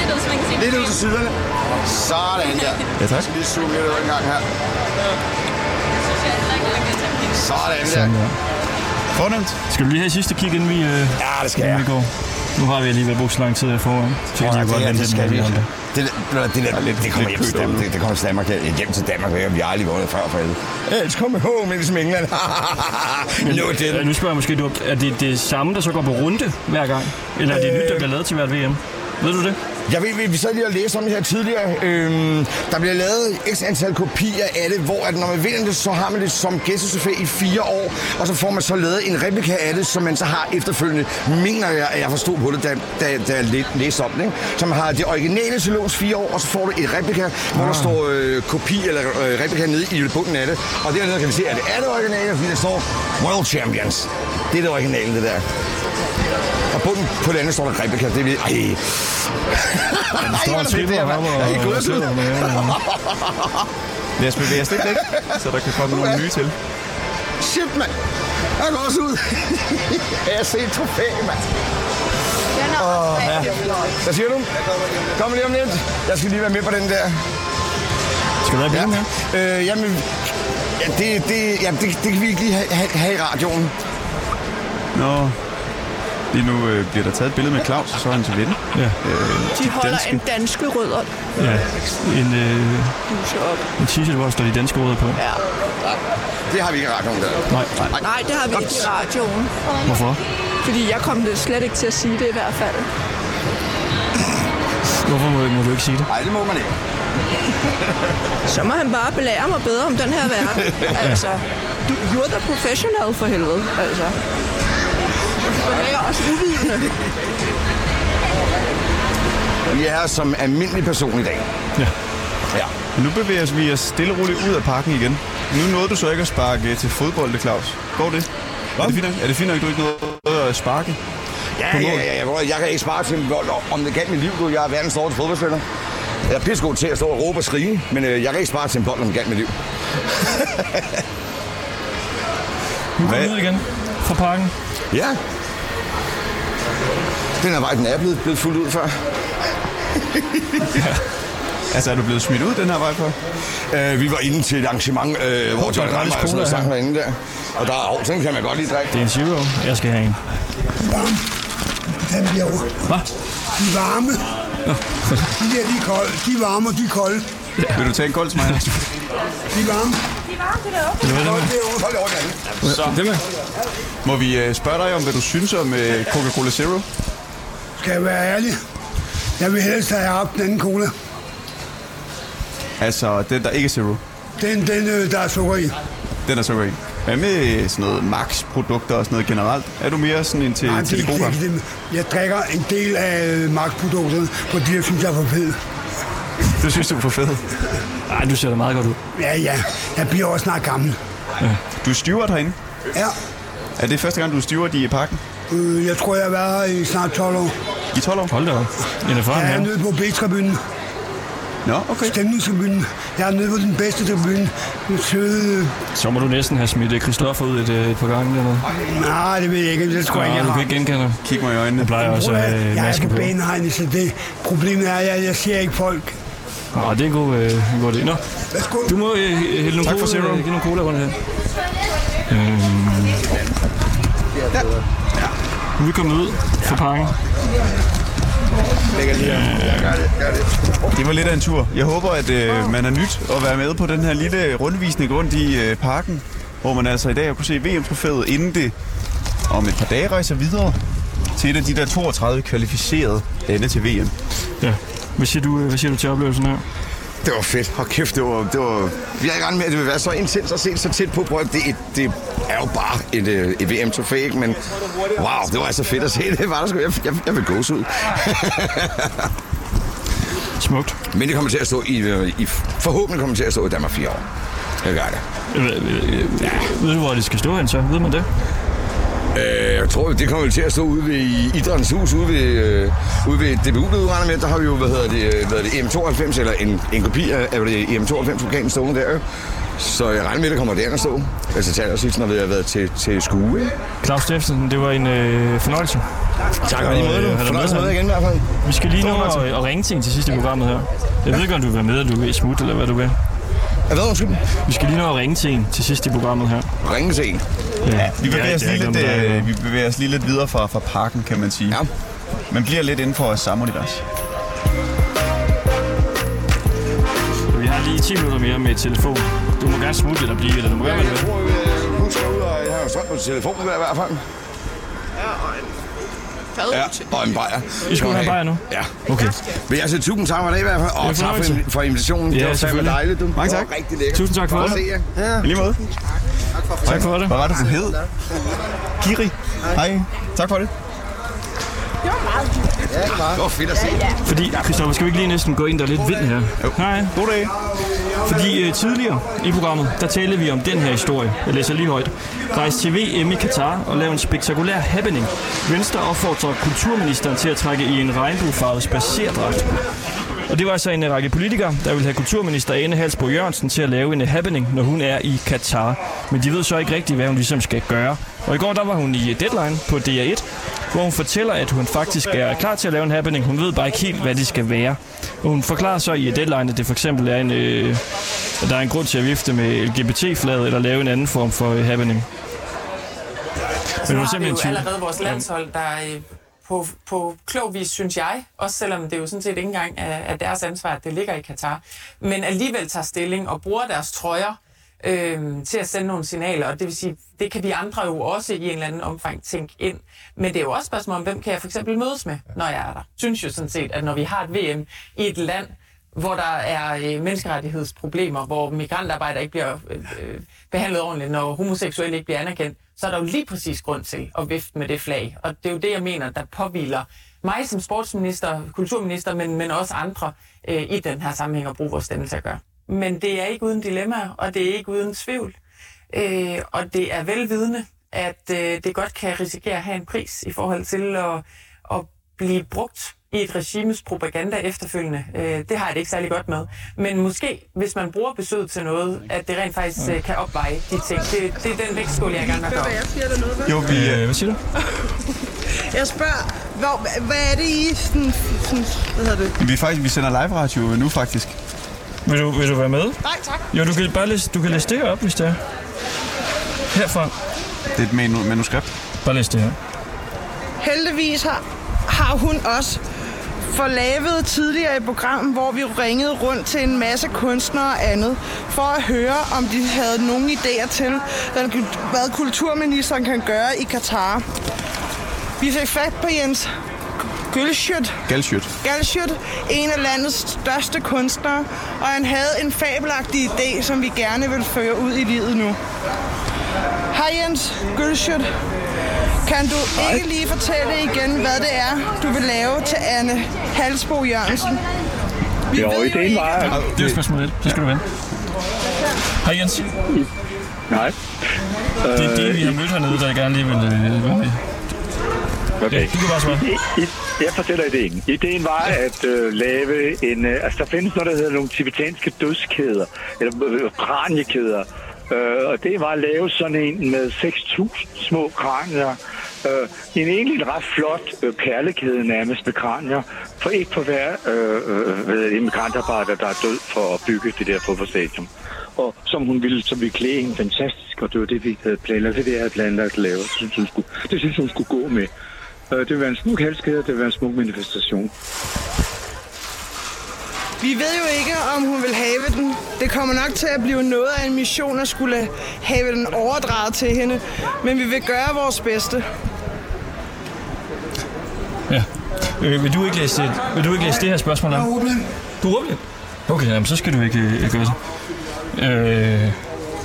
lidt ud, så man kan se
Lidt ud til siderne. Sådan der.
Ja, tak.
Lige zoome lidt ud en gang her. Sådan der.
Sådan, ja.
Fornemt.
Skal du lige have et sidste kig, inden vi, øh, ja,
det skal
inden vi går? Nu har vi alligevel brugt så lang tid her foran. Så kan
Åh,
de jo godt
her,
vente
det, skal
lidt
vi.
med
Det,
det.
det, der- det, der- det, det,
lidt
kommer hjem til
kø derude.
Danmark. Det, det kommer til Danmark. her. Hjem til Danmark. her. Vi har aldrig vundet før for helvede. It's coming home, ligesom
(laughs)
England. no, det
Ja, nu spørger jeg måske, du, er det det samme, der så går på runde hver gang? Eller er det nyt, der bliver lavet til hvert VM? Ved du det?
Jeg ved, vi- vi sad lige og læste om det her tidligere. Øhm, der bliver lavet x antal kopier af det, hvor at når man vinder det, så har man det som gæstesuffé i fire år, og så får man så lavet en replika af det, som man så har efterfølgende, mener jeg, at jeg forstod på det, da, da, da jeg læ- læste om det. Ikke? Så man har det originale til låns fire år, og så får du et replika, hvor der står øh, kopi eller øh, replika nede i bunden af det. Og dernede kan vi se, at det er det originale, fordi der står World Champions. Det er det originale, det der. Og bunden på det andet står der replika. Det er vi... Ej.
der står en tripper heroppe og-
Jeg er i
og
gåsehud.
sidder med, ja, ja. Lad os bevæge os lidt væk, (laughs) så der kan komme nogle nye til.
Shit, mand. Jeg går også ud. (laughs) jeg har set trofæ, mand. Åh, ja. Hvad siger du? Kom lige om lidt. Jeg skal lige være med på den der.
Skal du have bilen
her? Øh, jamen, ja, det, det, ja, det, det kan vi ikke lige have, have, have i radioen.
Nå. Lige nu øh, bliver der taget et billede med Claus, og så er han til vinde.
Ja.
Øh,
De holder
danske.
en danske rødder
Ja, en, øh,
huse op.
en t-shirt, hvor der står de danske ord på.
Ja.
Det har vi ikke i radioen der.
Nej, nej.
Nej, det har vi ikke i radioen.
Hvorfor?
Fordi jeg kom det slet ikke til at sige det i hvert fald.
Hvorfor må, må du ikke sige det?
Nej, det må man ikke.
Så må han bare belære mig bedre om den her verden. Altså, du, you're the professional for helvede, altså. Og det er også uvidende.
Vi er her som almindelig person i dag.
Ja.
Ja.
Nu bevæger vi os stille og roligt ud af parken igen. Nu nåede du så ikke at sparke til fodbold, det Claus. Går det? Er det, fint, nok- er det fint nok, du ikke nåede at sparke?
Ja, ja, ja, ja, bror, jeg kan ikke spare til vold om det galt mit liv, du. Jeg er verdens største fodboldspiller. Jeg er pissegod til at stå og råbe og skrige, men øh, jeg kan ikke spare til en bold om det galt mit liv.
Nu går vi ud igen fra parken.
Ja. Den her vej, den er blevet, blevet fuldt ud før.
Altså, er du blevet smidt ud den her vej på?
Øh, vi var inde til et arrangement, øh, hvor John Randers og sådan noget sang derinde der. Og der er oh, sådan kan man godt lige drikke.
Det er en zero. Jeg skal have en.
Den bliver rød.
Hvad?
De er varme. de der, de er kolde. De er varme, og de er kolde.
Ja. Vil du tage en kold smag? (laughs)
De er varme.
Vil du have den her?
Hold det over, Jan.
Så. Det med. Må vi øh, spørge dig om, hvad du synes om øh, Coca-Cola Zero?
Skal jeg være ærlig? Jeg vil helst have haft den anden cola.
Altså, den der ikke er Zero.
Den, den øh, der er sukker i.
Den er sukker i. Hvad med sådan noget Max-produkter og sådan noget generelt? Er du mere sådan en til,
Nej,
til det gode
ikke
gamle?
dem. Jeg drikker en del af øh, magtprodukterne, fordi jeg synes, jeg er for fed.
Det synes du er for fedt.
Nej, du ser da meget godt ud.
Ja, ja. Jeg bliver også snart gammel.
Du er steward herinde.
Ja.
Er det første gang, du er steward i parken?
Øh, jeg tror, jeg har været her i snart 12 år.
I 12 år?
Hold da op. En erfaren
Jeg er
mand.
nede på B-tribunen.
Nå, okay.
Stemningstribunen. Jeg er nede på den bedste tribune. Den søde...
Så må du næsten have smidt øh, Christoffer ud et, øh, et par gange eller noget.
Nej, det ved jeg ikke. Det tror jeg ikke,
Ja,
jeg
du
har.
kan ikke genkende ham.
Kig mig i øjnene.
Jeg plejer også at
Prøv at
have
høre,
øh,
jeg
maske
er på
på.
banehegne, så det problemet er, at jeg, jeg ser ikke folk.
Nå, det er en god, øh, en god idé. Nå, du må øh, hælde nogle
Tak
cola,
for zero.
øh, give nogle cola rundt her.
Øhm.
Øhm. Nu er vi kommet ud fra parken.
Lægger lige her. Ja, gør det, gør det.
Det var lidt af en tur. Jeg håber, at øh, man er nyt at være med på den her lille rundvisning rundt i øh, parken, hvor man altså i dag har kunne se VM-trofæet, inden det om et par dage rejser videre til et af de der 32 kvalificerede lande til VM.
Ja. Hvad siger du, øh, hvad siger du til oplevelsen her?
Det var fedt. Hold kæft, det var... Det var... Vi havde ikke regnet med, at det ville være så intens at se så tæt på. Prøv, at- det, det er jo bare et, øh, et VM-trofæ, ikke? Men wow, det var altså fedt at se. Det (laughs) var der sgu. Jeg, jeg, jeg vil gås ud.
Smukt.
Men det kommer til at stå i, øh, i... Forhåbentlig kommer det til at stå i Danmark fire år. Jeg gør det.
Øh, øh, øh, Ved du, hvor det skal stå hen så? Ved man det?
Øh, jeg tror, det kommer vel til at stå ude ved i Idrættens Hus, ude ved, øh, ude ved DBU, det udregner med. Der har vi jo, hvad hedder det, øh, hvad hedder det EM92, eller en, en kopi af, af det EM92-vulkanen stående der, jo. Så jeg regner med, at det kommer derind at stå. Altså, taler også når vi har været til, til skue, ikke?
Claus Steffensen, det var en øh, fornøjelse. øh,
Tak, og lige måde, øh, du. Fornøjelse med dig igen, i hvert fald.
Vi skal lige nå at, at ringe til en til sidste programmet her. Jeg ved ikke, om du vil være med, eller du vil smutte, eller hvad du vil.
Hvad, undskyld?
Vi skal lige nå at ringe til en til sidst i programmet her.
Ringe til en?
Ja,
Vi bevæger, os
det er
lige
ikke
lidt,
om dig,
øh, vi bevæger os lige lidt videre fra, fra parken, kan man sige. Ja. Man bliver lidt inden for samme univers.
Vi har lige 10 minutter mere med telefon. Du må gerne smutte eller blive, eller du må gerne være med.
øh, Hun skal ud, og jeg har jo strøm på telefonen der i hvert fald. Ja, og en bajer.
I skal ud og have en bajer nu?
Ja.
Okay.
Vil jeg sige tusind tak for det i hvert fald,
Det er en
og tak for,
fornøjelse.
for invitationen.
Ja,
det var fandme
selvfølgelig.
dejligt, du.
Mange
Det var
tak.
Rigtig lækkert.
Tusind tak for
Godt
det.
at se jer.
I lige måde.
Tak for det.
Hvad var det, du hed? Kiri. Hej. Tak for det.
Det var meget hyggeligt. Ja, det var.
Det var fedt at se. Ja,
Fordi, Christoffer, skal vi ikke lige næsten gå ind, der er lidt vind her? Jo. Nej.
God dag.
Fordi øh, tidligere i programmet, der talte vi om den her historie. Jeg læser lige højt. Rejs til VM i Katar og lav en spektakulær happening. Venstre opfordrer kulturministeren til at trække i en regnbuefarvet spacerdragt. Og det var altså en øh, række politikere, der ville have kulturminister Ane Halsbo Jørgensen til at lave en øh, happening, når hun er i Katar. Men de ved så ikke rigtigt, hvad hun ligesom skal gøre. Og i går der var hun i øh, Deadline på DR1, hvor hun fortæller, at hun faktisk er klar til at lave en happening. Hun ved bare ikke helt, hvad det skal være. Og hun forklarer så i øh, Deadline, at det for eksempel er en, øh, at der er en grund til at vifte med LGBT-flaget eller lave en anden form for øh, happening.
Så
Men hun er
har vi
simpelthen
jo
tvivl.
allerede vores landshold, der øh, på, på klog vis, synes jeg, også selvom det jo sådan set ikke engang er, er deres ansvar, at det ligger i Katar, men alligevel tager stilling og bruger deres trøjer øh, til at sende nogle signaler, og det vil sige, det kan vi andre jo også i en eller anden omfang tænke ind. Men det er jo også et spørgsmål om, hvem kan jeg for eksempel mødes med, når jeg er der? Synes jo sådan set, at når vi har et VM i et land, hvor der er øh, menneskerettighedsproblemer, hvor migrantarbejdere ikke bliver øh, øh, behandlet ordentligt, når homoseksuelle ikke bliver anerkendt, så er der jo lige præcis grund til at vifte med det flag. Og det er jo det, jeg mener, der påviler mig som sportsminister, kulturminister, men, men også andre øh, i den her sammenhæng at bruge vores stemme til at gøre. Men det er ikke uden dilemmaer, og det er ikke uden tvivl. Øh, og det er velvidende, at øh, det godt kan risikere at have en pris i forhold til at, at blive brugt i et regimes propaganda efterfølgende. Øh, det har jeg det ikke særlig godt med. Men måske, hvis man bruger besøget til noget, at det rent faktisk øh, kan opveje de ting. Det, det er den vægtskål, jeg gerne vil gøre.
Jeg siger dernede, hva'?
øh, hvad siger du?
Jeg spørger, hvor, hvad er det i sådan, sådan, hvad hedder det?
Vi, er faktisk, vi sender live radio nu, faktisk.
Vil du, vil du være med?
Nej, tak.
Jo, du kan bare læse, du kan læse det her op, hvis det er. Herfra.
Det er et menu- manuskript.
Bare læs det her.
Heldigvis har, har hun også for lavet tidligere i programmet, hvor vi ringede rundt til en masse kunstnere og andet, for at høre, om de havde nogen idéer til, hvad hvad kulturministeren kan gøre i Katar. Vi fik fat på Jens Gølschødt,
Galsjøt.
Galschut, en af landets største kunstnere, og han havde en fabelagtig idé, som vi gerne vil føre ud i livet nu. Hej Jens Gølschut. Kan du ikke lige fortælle igen, hvad det er, du vil lave til Anne Halsbo Jørgensen?
Jo, ideen var...
Ja, det er jo spørgsmål 1. Så skal du vende. Hej Jens.
Nej.
Det er det, vi har mødt hernede, der jeg gerne lige vil øh, være med.
Okay.
Du kan bare svare.
I, I- jeg fortæller ideen. Ideen var at øh, lave en... Øh, altså, der findes noget, der hedder nogle tibetanske dødskæder, eller øh, kraniekæder. Øh, og det var at lave sådan en med 6.000 små kranier. Øh, en egentlig ret flot øh, perlekæde nærmest med kranier, for ikke for hver øh, øh, immigrantarbejder, der er død for at bygge det der fodboldstadion. og som hun ville, som vi klæde hende fantastisk, og det var det, vi havde planlagt, det, vi havde planlagt at lave. Det synes hun skulle, det synes, hun skulle gå med. Øh, Det vil være en smuk halskæde, og det vil være en smuk manifestation.
Vi ved jo ikke, om hun vil have den. Det kommer nok til at blive noget af en mission at skulle have den overdraget til hende. Men vi vil gøre vores bedste.
Øh, vil, du ikke læse, vil du ikke læse det her spørgsmål op? Du er ordblind. Okay, jamen, så skal du ikke øh, gøre det. Øh,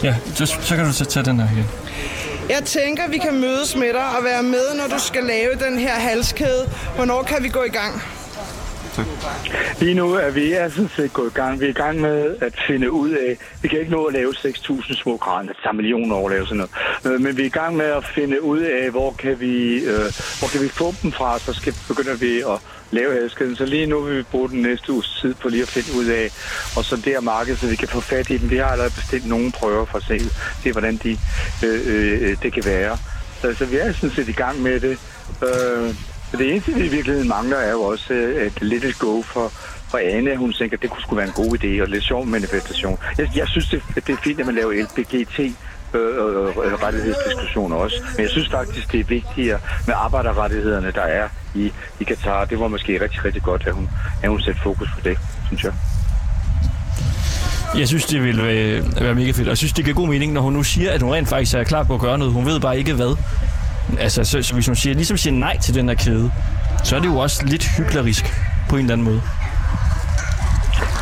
ja, så, så kan du så tage den her igen.
Jeg tænker, vi kan mødes med dig og være med, når du skal lave den her halskæde. Hvornår kan vi gå i gang?
til?
Lige nu er vi er sådan set gået i gang. Vi er i gang med at finde ud af, vi kan ikke nå at lave 6.000 små kraner, der tager millioner år at lave sådan noget. Øh, Men vi er i gang med at finde ud af, hvor kan vi, øh, hvor kan vi få dem fra, så skal, begynder vi at lave halskæden. Så lige nu vil vi bruge den næste uges tid på lige at finde ud af, og så der marked, så vi kan få fat i dem. Vi har allerede bestilt nogle prøver for at se, se hvordan de, øh, øh, det kan være. Så, så vi er sådan set i gang med det. Øh, så det eneste, vi i virkeligheden mangler, er jo også øh, et little go for, for Ane. Hun tænker, at det kunne sgu være en god idé og lidt sjov manifestation. Jeg, jeg synes, det, det er fint, at man laver LBGT øh, øh, rettighedsdiskussioner også. Men jeg synes faktisk, det er vigtigere med arbejderrettighederne, der er i, i Katar. Det var måske rigtig, rigtig godt, at hun, at hun satte fokus på det, synes jeg.
Jeg synes, det ville være, være mega fedt. Og jeg synes, det giver god mening, når hun nu siger, at hun rent faktisk er klar på at gøre noget. Hun ved bare ikke hvad. Altså, så, så hvis hun siger, ligesom siger nej til den her kæde, så er det jo også lidt hyklerisk på en eller anden måde.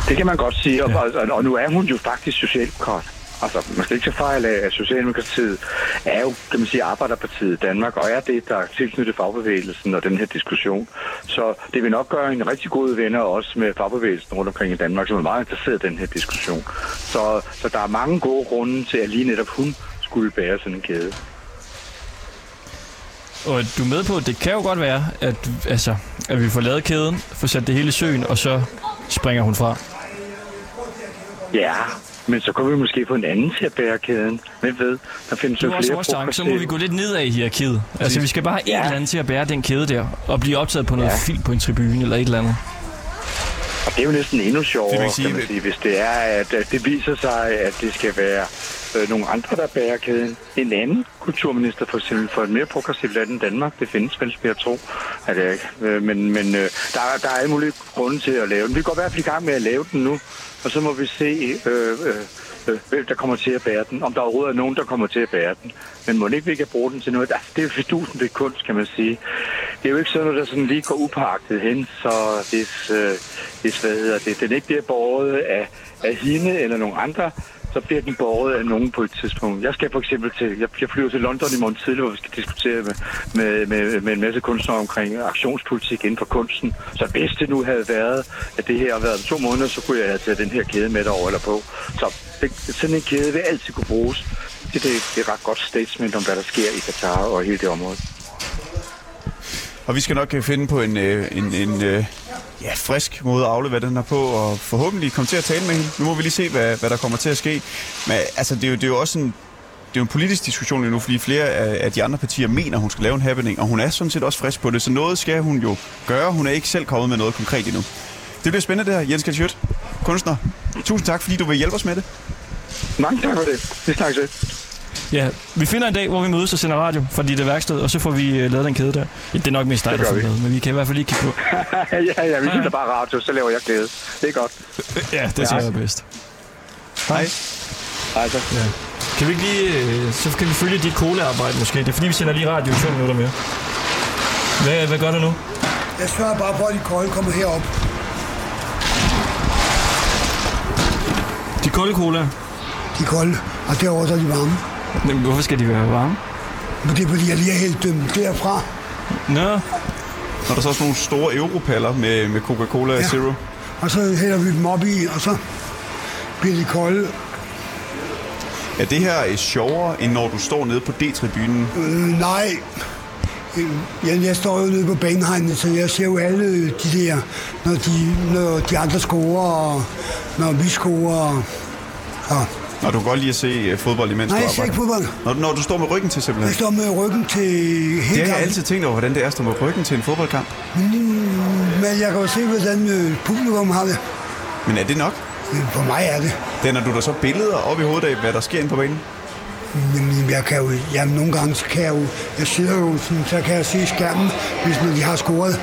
Det kan man godt sige, og, ja. og, og nu er hun jo faktisk socialdemokrat. Altså, man skal ikke tage fejl af, at Socialdemokratiet er jo, kan man sige, Arbejderpartiet i Danmark, og er det, der er tilknyttet fagbevægelsen og den her diskussion. Så det vil nok gøre en rigtig god venner også med fagbevægelsen rundt omkring i Danmark, som er meget interesseret i den her diskussion. Så, så der er mange gode grunde til, at lige netop hun skulle bære sådan en kæde.
Og du er med på, at det kan jo godt være, at, altså, at vi får lavet kæden, får sat det hele i søen, og så springer hun fra.
Ja, men så kunne vi måske få en anden til at bære kæden. Hvem ved? Der findes
Det
jo
var også
flere
vores tanke. Så må vi gå lidt nedad i hierarkiet. Altså, vi skal bare have ja.
Ja.
et eller andet til at bære den kæde der, og blive optaget på noget ja.
Ja.
film på en tribune eller et eller andet.
Og det er jo næsten endnu
Det vil
sjovere,
ikke sige,
kan man
at-
sige, hvis det er, at, at det viser sig, at det skal være øh, nogle andre, der bærer kæden. En anden kulturminister for eksempel for et mere progressivt land end Danmark, det findes vel, vil jeg tro. At, øh, men men øh, der, er- der er alle mulige grunde til at lave den. Vi går i hvert fald i gang med at lave den nu, og så må vi se, øh, øh, øh, hvem der kommer til at bære den. Om der overhovedet er nogen, der kommer til at bære den. Men må ikke vi kan bruge den til noget? Altså, det er jo fidusen ved kunst, kan man sige. Det er jo ikke sådan noget, der sådan lige går upagtet hen, så hvis, øh, hvis hvad hedder det, den ikke bliver båret af, af hende eller nogen andre, så bliver den båret af nogen på et tidspunkt. Jeg skal for eksempel til, jeg, jeg flyver til London i morgen tidlig, hvor vi skal diskutere med, med, med, med en masse kunstnere omkring aktionspolitik inden for kunsten. Så hvis det nu havde været, at det her havde været om to måneder, så kunne jeg have taget den her kæde med derover eller på. Så det, sådan en kæde vil altid kunne bruges. Det, det, det er ret godt statement om, hvad der sker i Katar og hele det område.
Og vi skal nok øh, finde på en, øh, en, en øh, ja, frisk måde at aflevere den her på, og forhåbentlig komme til at tale med hende. Nu må vi lige se, hvad, hvad der kommer til at ske. Men altså, det er jo, det er jo også en, det er jo en politisk diskussion lige nu, fordi flere af, af de andre partier mener, hun skal lave en happening, og hun er sådan set også frisk på det, så noget skal hun jo gøre. Hun er ikke selv kommet med noget konkret endnu. Det bliver spændende det her, Jens Kalschødt, kunstner. Tusind tak, fordi du vil hjælpe os med det.
Mange tak for det. Det snakkes ved.
Ja, vi finder en dag, hvor vi mødes og sender radio fra dit øh, værksted, og så får vi øh, lavet den kæde der. Ja, det er nok mest dig,
Det
der
gør
får
vi.
lavet, men vi kan i hvert fald lige kigge på.
(laughs) ja, ja, vi lytter bare radio, så laver jeg glæde. Det er godt.
Ja, det tænker jeg er bedst. Hej.
Hej så.
Ja. Kan vi ikke lige, øh, så kan vi følge dit cola-arbejde måske. Det er fordi, vi sender lige radio i 5 minutter mere. Hvad, hvad gør du nu?
Jeg sørger bare for, at de kolde kommer herop.
De kolde cola.
De kolde, og derovre så er de varme.
Men hvorfor skal de være varme?
Men det er fordi, jeg lige har hældt dem derfra.
Nå.
Når der så er sådan nogle store europaller med, med Coca-Cola ja. Zero.
Og så hælder vi dem op i, og så bliver de kolde.
Ja, det her er sjovere, end når du står nede på D-tribunen.
Øh, nej. Øh, Jeg, jeg står jo nede på banehegnet, så jeg ser jo alle de der, når de, når de andre scorer, og når vi scorer. og- Og
Og du kan godt lide at se øh, fodbold, imens
Nej,
du
jeg
arbejder.
ser ikke fodbold.
Når, når du står med ryggen til simpelthen.
jeg står med ryggen til
Det
hele
har jeg
kampen.
altid tænkt over, hvordan det er at stå med ryggen til en fodboldkamp.
Mm, Men jeg kan jo se, hvordan øh, publikum har det.
Men er det nok?
For mig er det.
Danner du der så billeder op i hovedet af, hvad der sker inde på banen?
Men jeg kan jo, jamen, nogle gange så kan jeg jo, jeg sidder jo sådan, så kan jeg se skærmen, hvis man de har scoret.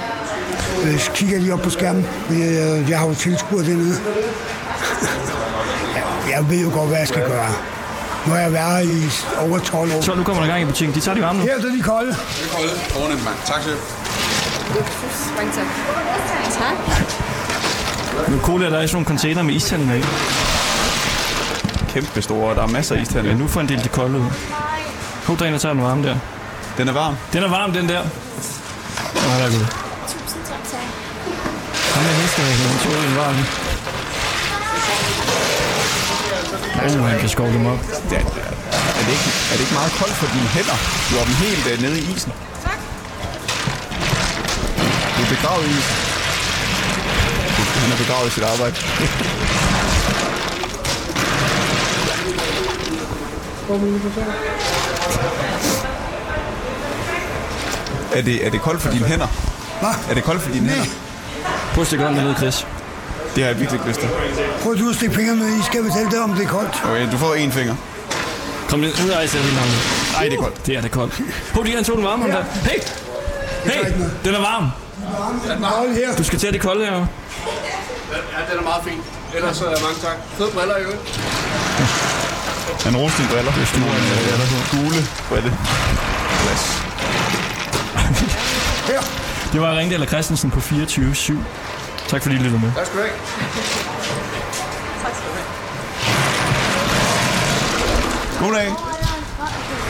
Øh, Så kigger jeg lige op på skærmen, men jeg, jeg har jo tilskuer dernede. (laughs) Jeg- jeg ved jo godt, hvad jeg skal gøre. Nu har jeg været her i over 12 år.
Så nu kommer der gang i butikken. De tager de varme nu.
Her er de kolde.
Det er kolde. Fornemt, mand. Tak, chef.
Mange tak. Tak.
Nu cola, der er i sådan nogle container med istanden med.
Kæmpe store, og der er masser af istande.
Ja, nu får en del de kolde ud. Hov, der er en, der tager den varme der.
Den er varm.
Den er varm, den der. Åh, der er god. Kom med heste, han tog i en varm. Åh, han kan skovle dem op.
Ja, er, det ikke, er det ikke meget koldt for dine hænder? Du har dem helt øh, nede i isen. Tak. Du er begravet i isen. Du- Han er begravet i sit arbejde. er, det, er det koldt for dine hænder?
Hvad?
Er det koldt for dine hænder?
Prøv at stikke hånden ned, Chris.
Det har jeg virkelig ikke lyst til.
Prøv du at stikke fingrene i, skal jeg fortælle dig, om det er koldt.
Okay, du får en finger.
Kom ned. Ud af hele navnet.
Ej, det er koldt.
Det er da koldt. Prøv lige, han tog den varme, ham der. Hey! Hey! Den er varm. Du skal tage det kolde her.
Ja, den er meget fin. Ellers så mange tak. Fede briller i øvrigt.
Han roste dine briller. øh, Det er store briller på. Gule brille. Glas.
Det var Ringdal og Christensen på 24-7. Tak fordi I lyttede med.
Tak skal du have. Tak skal du have.
God dag.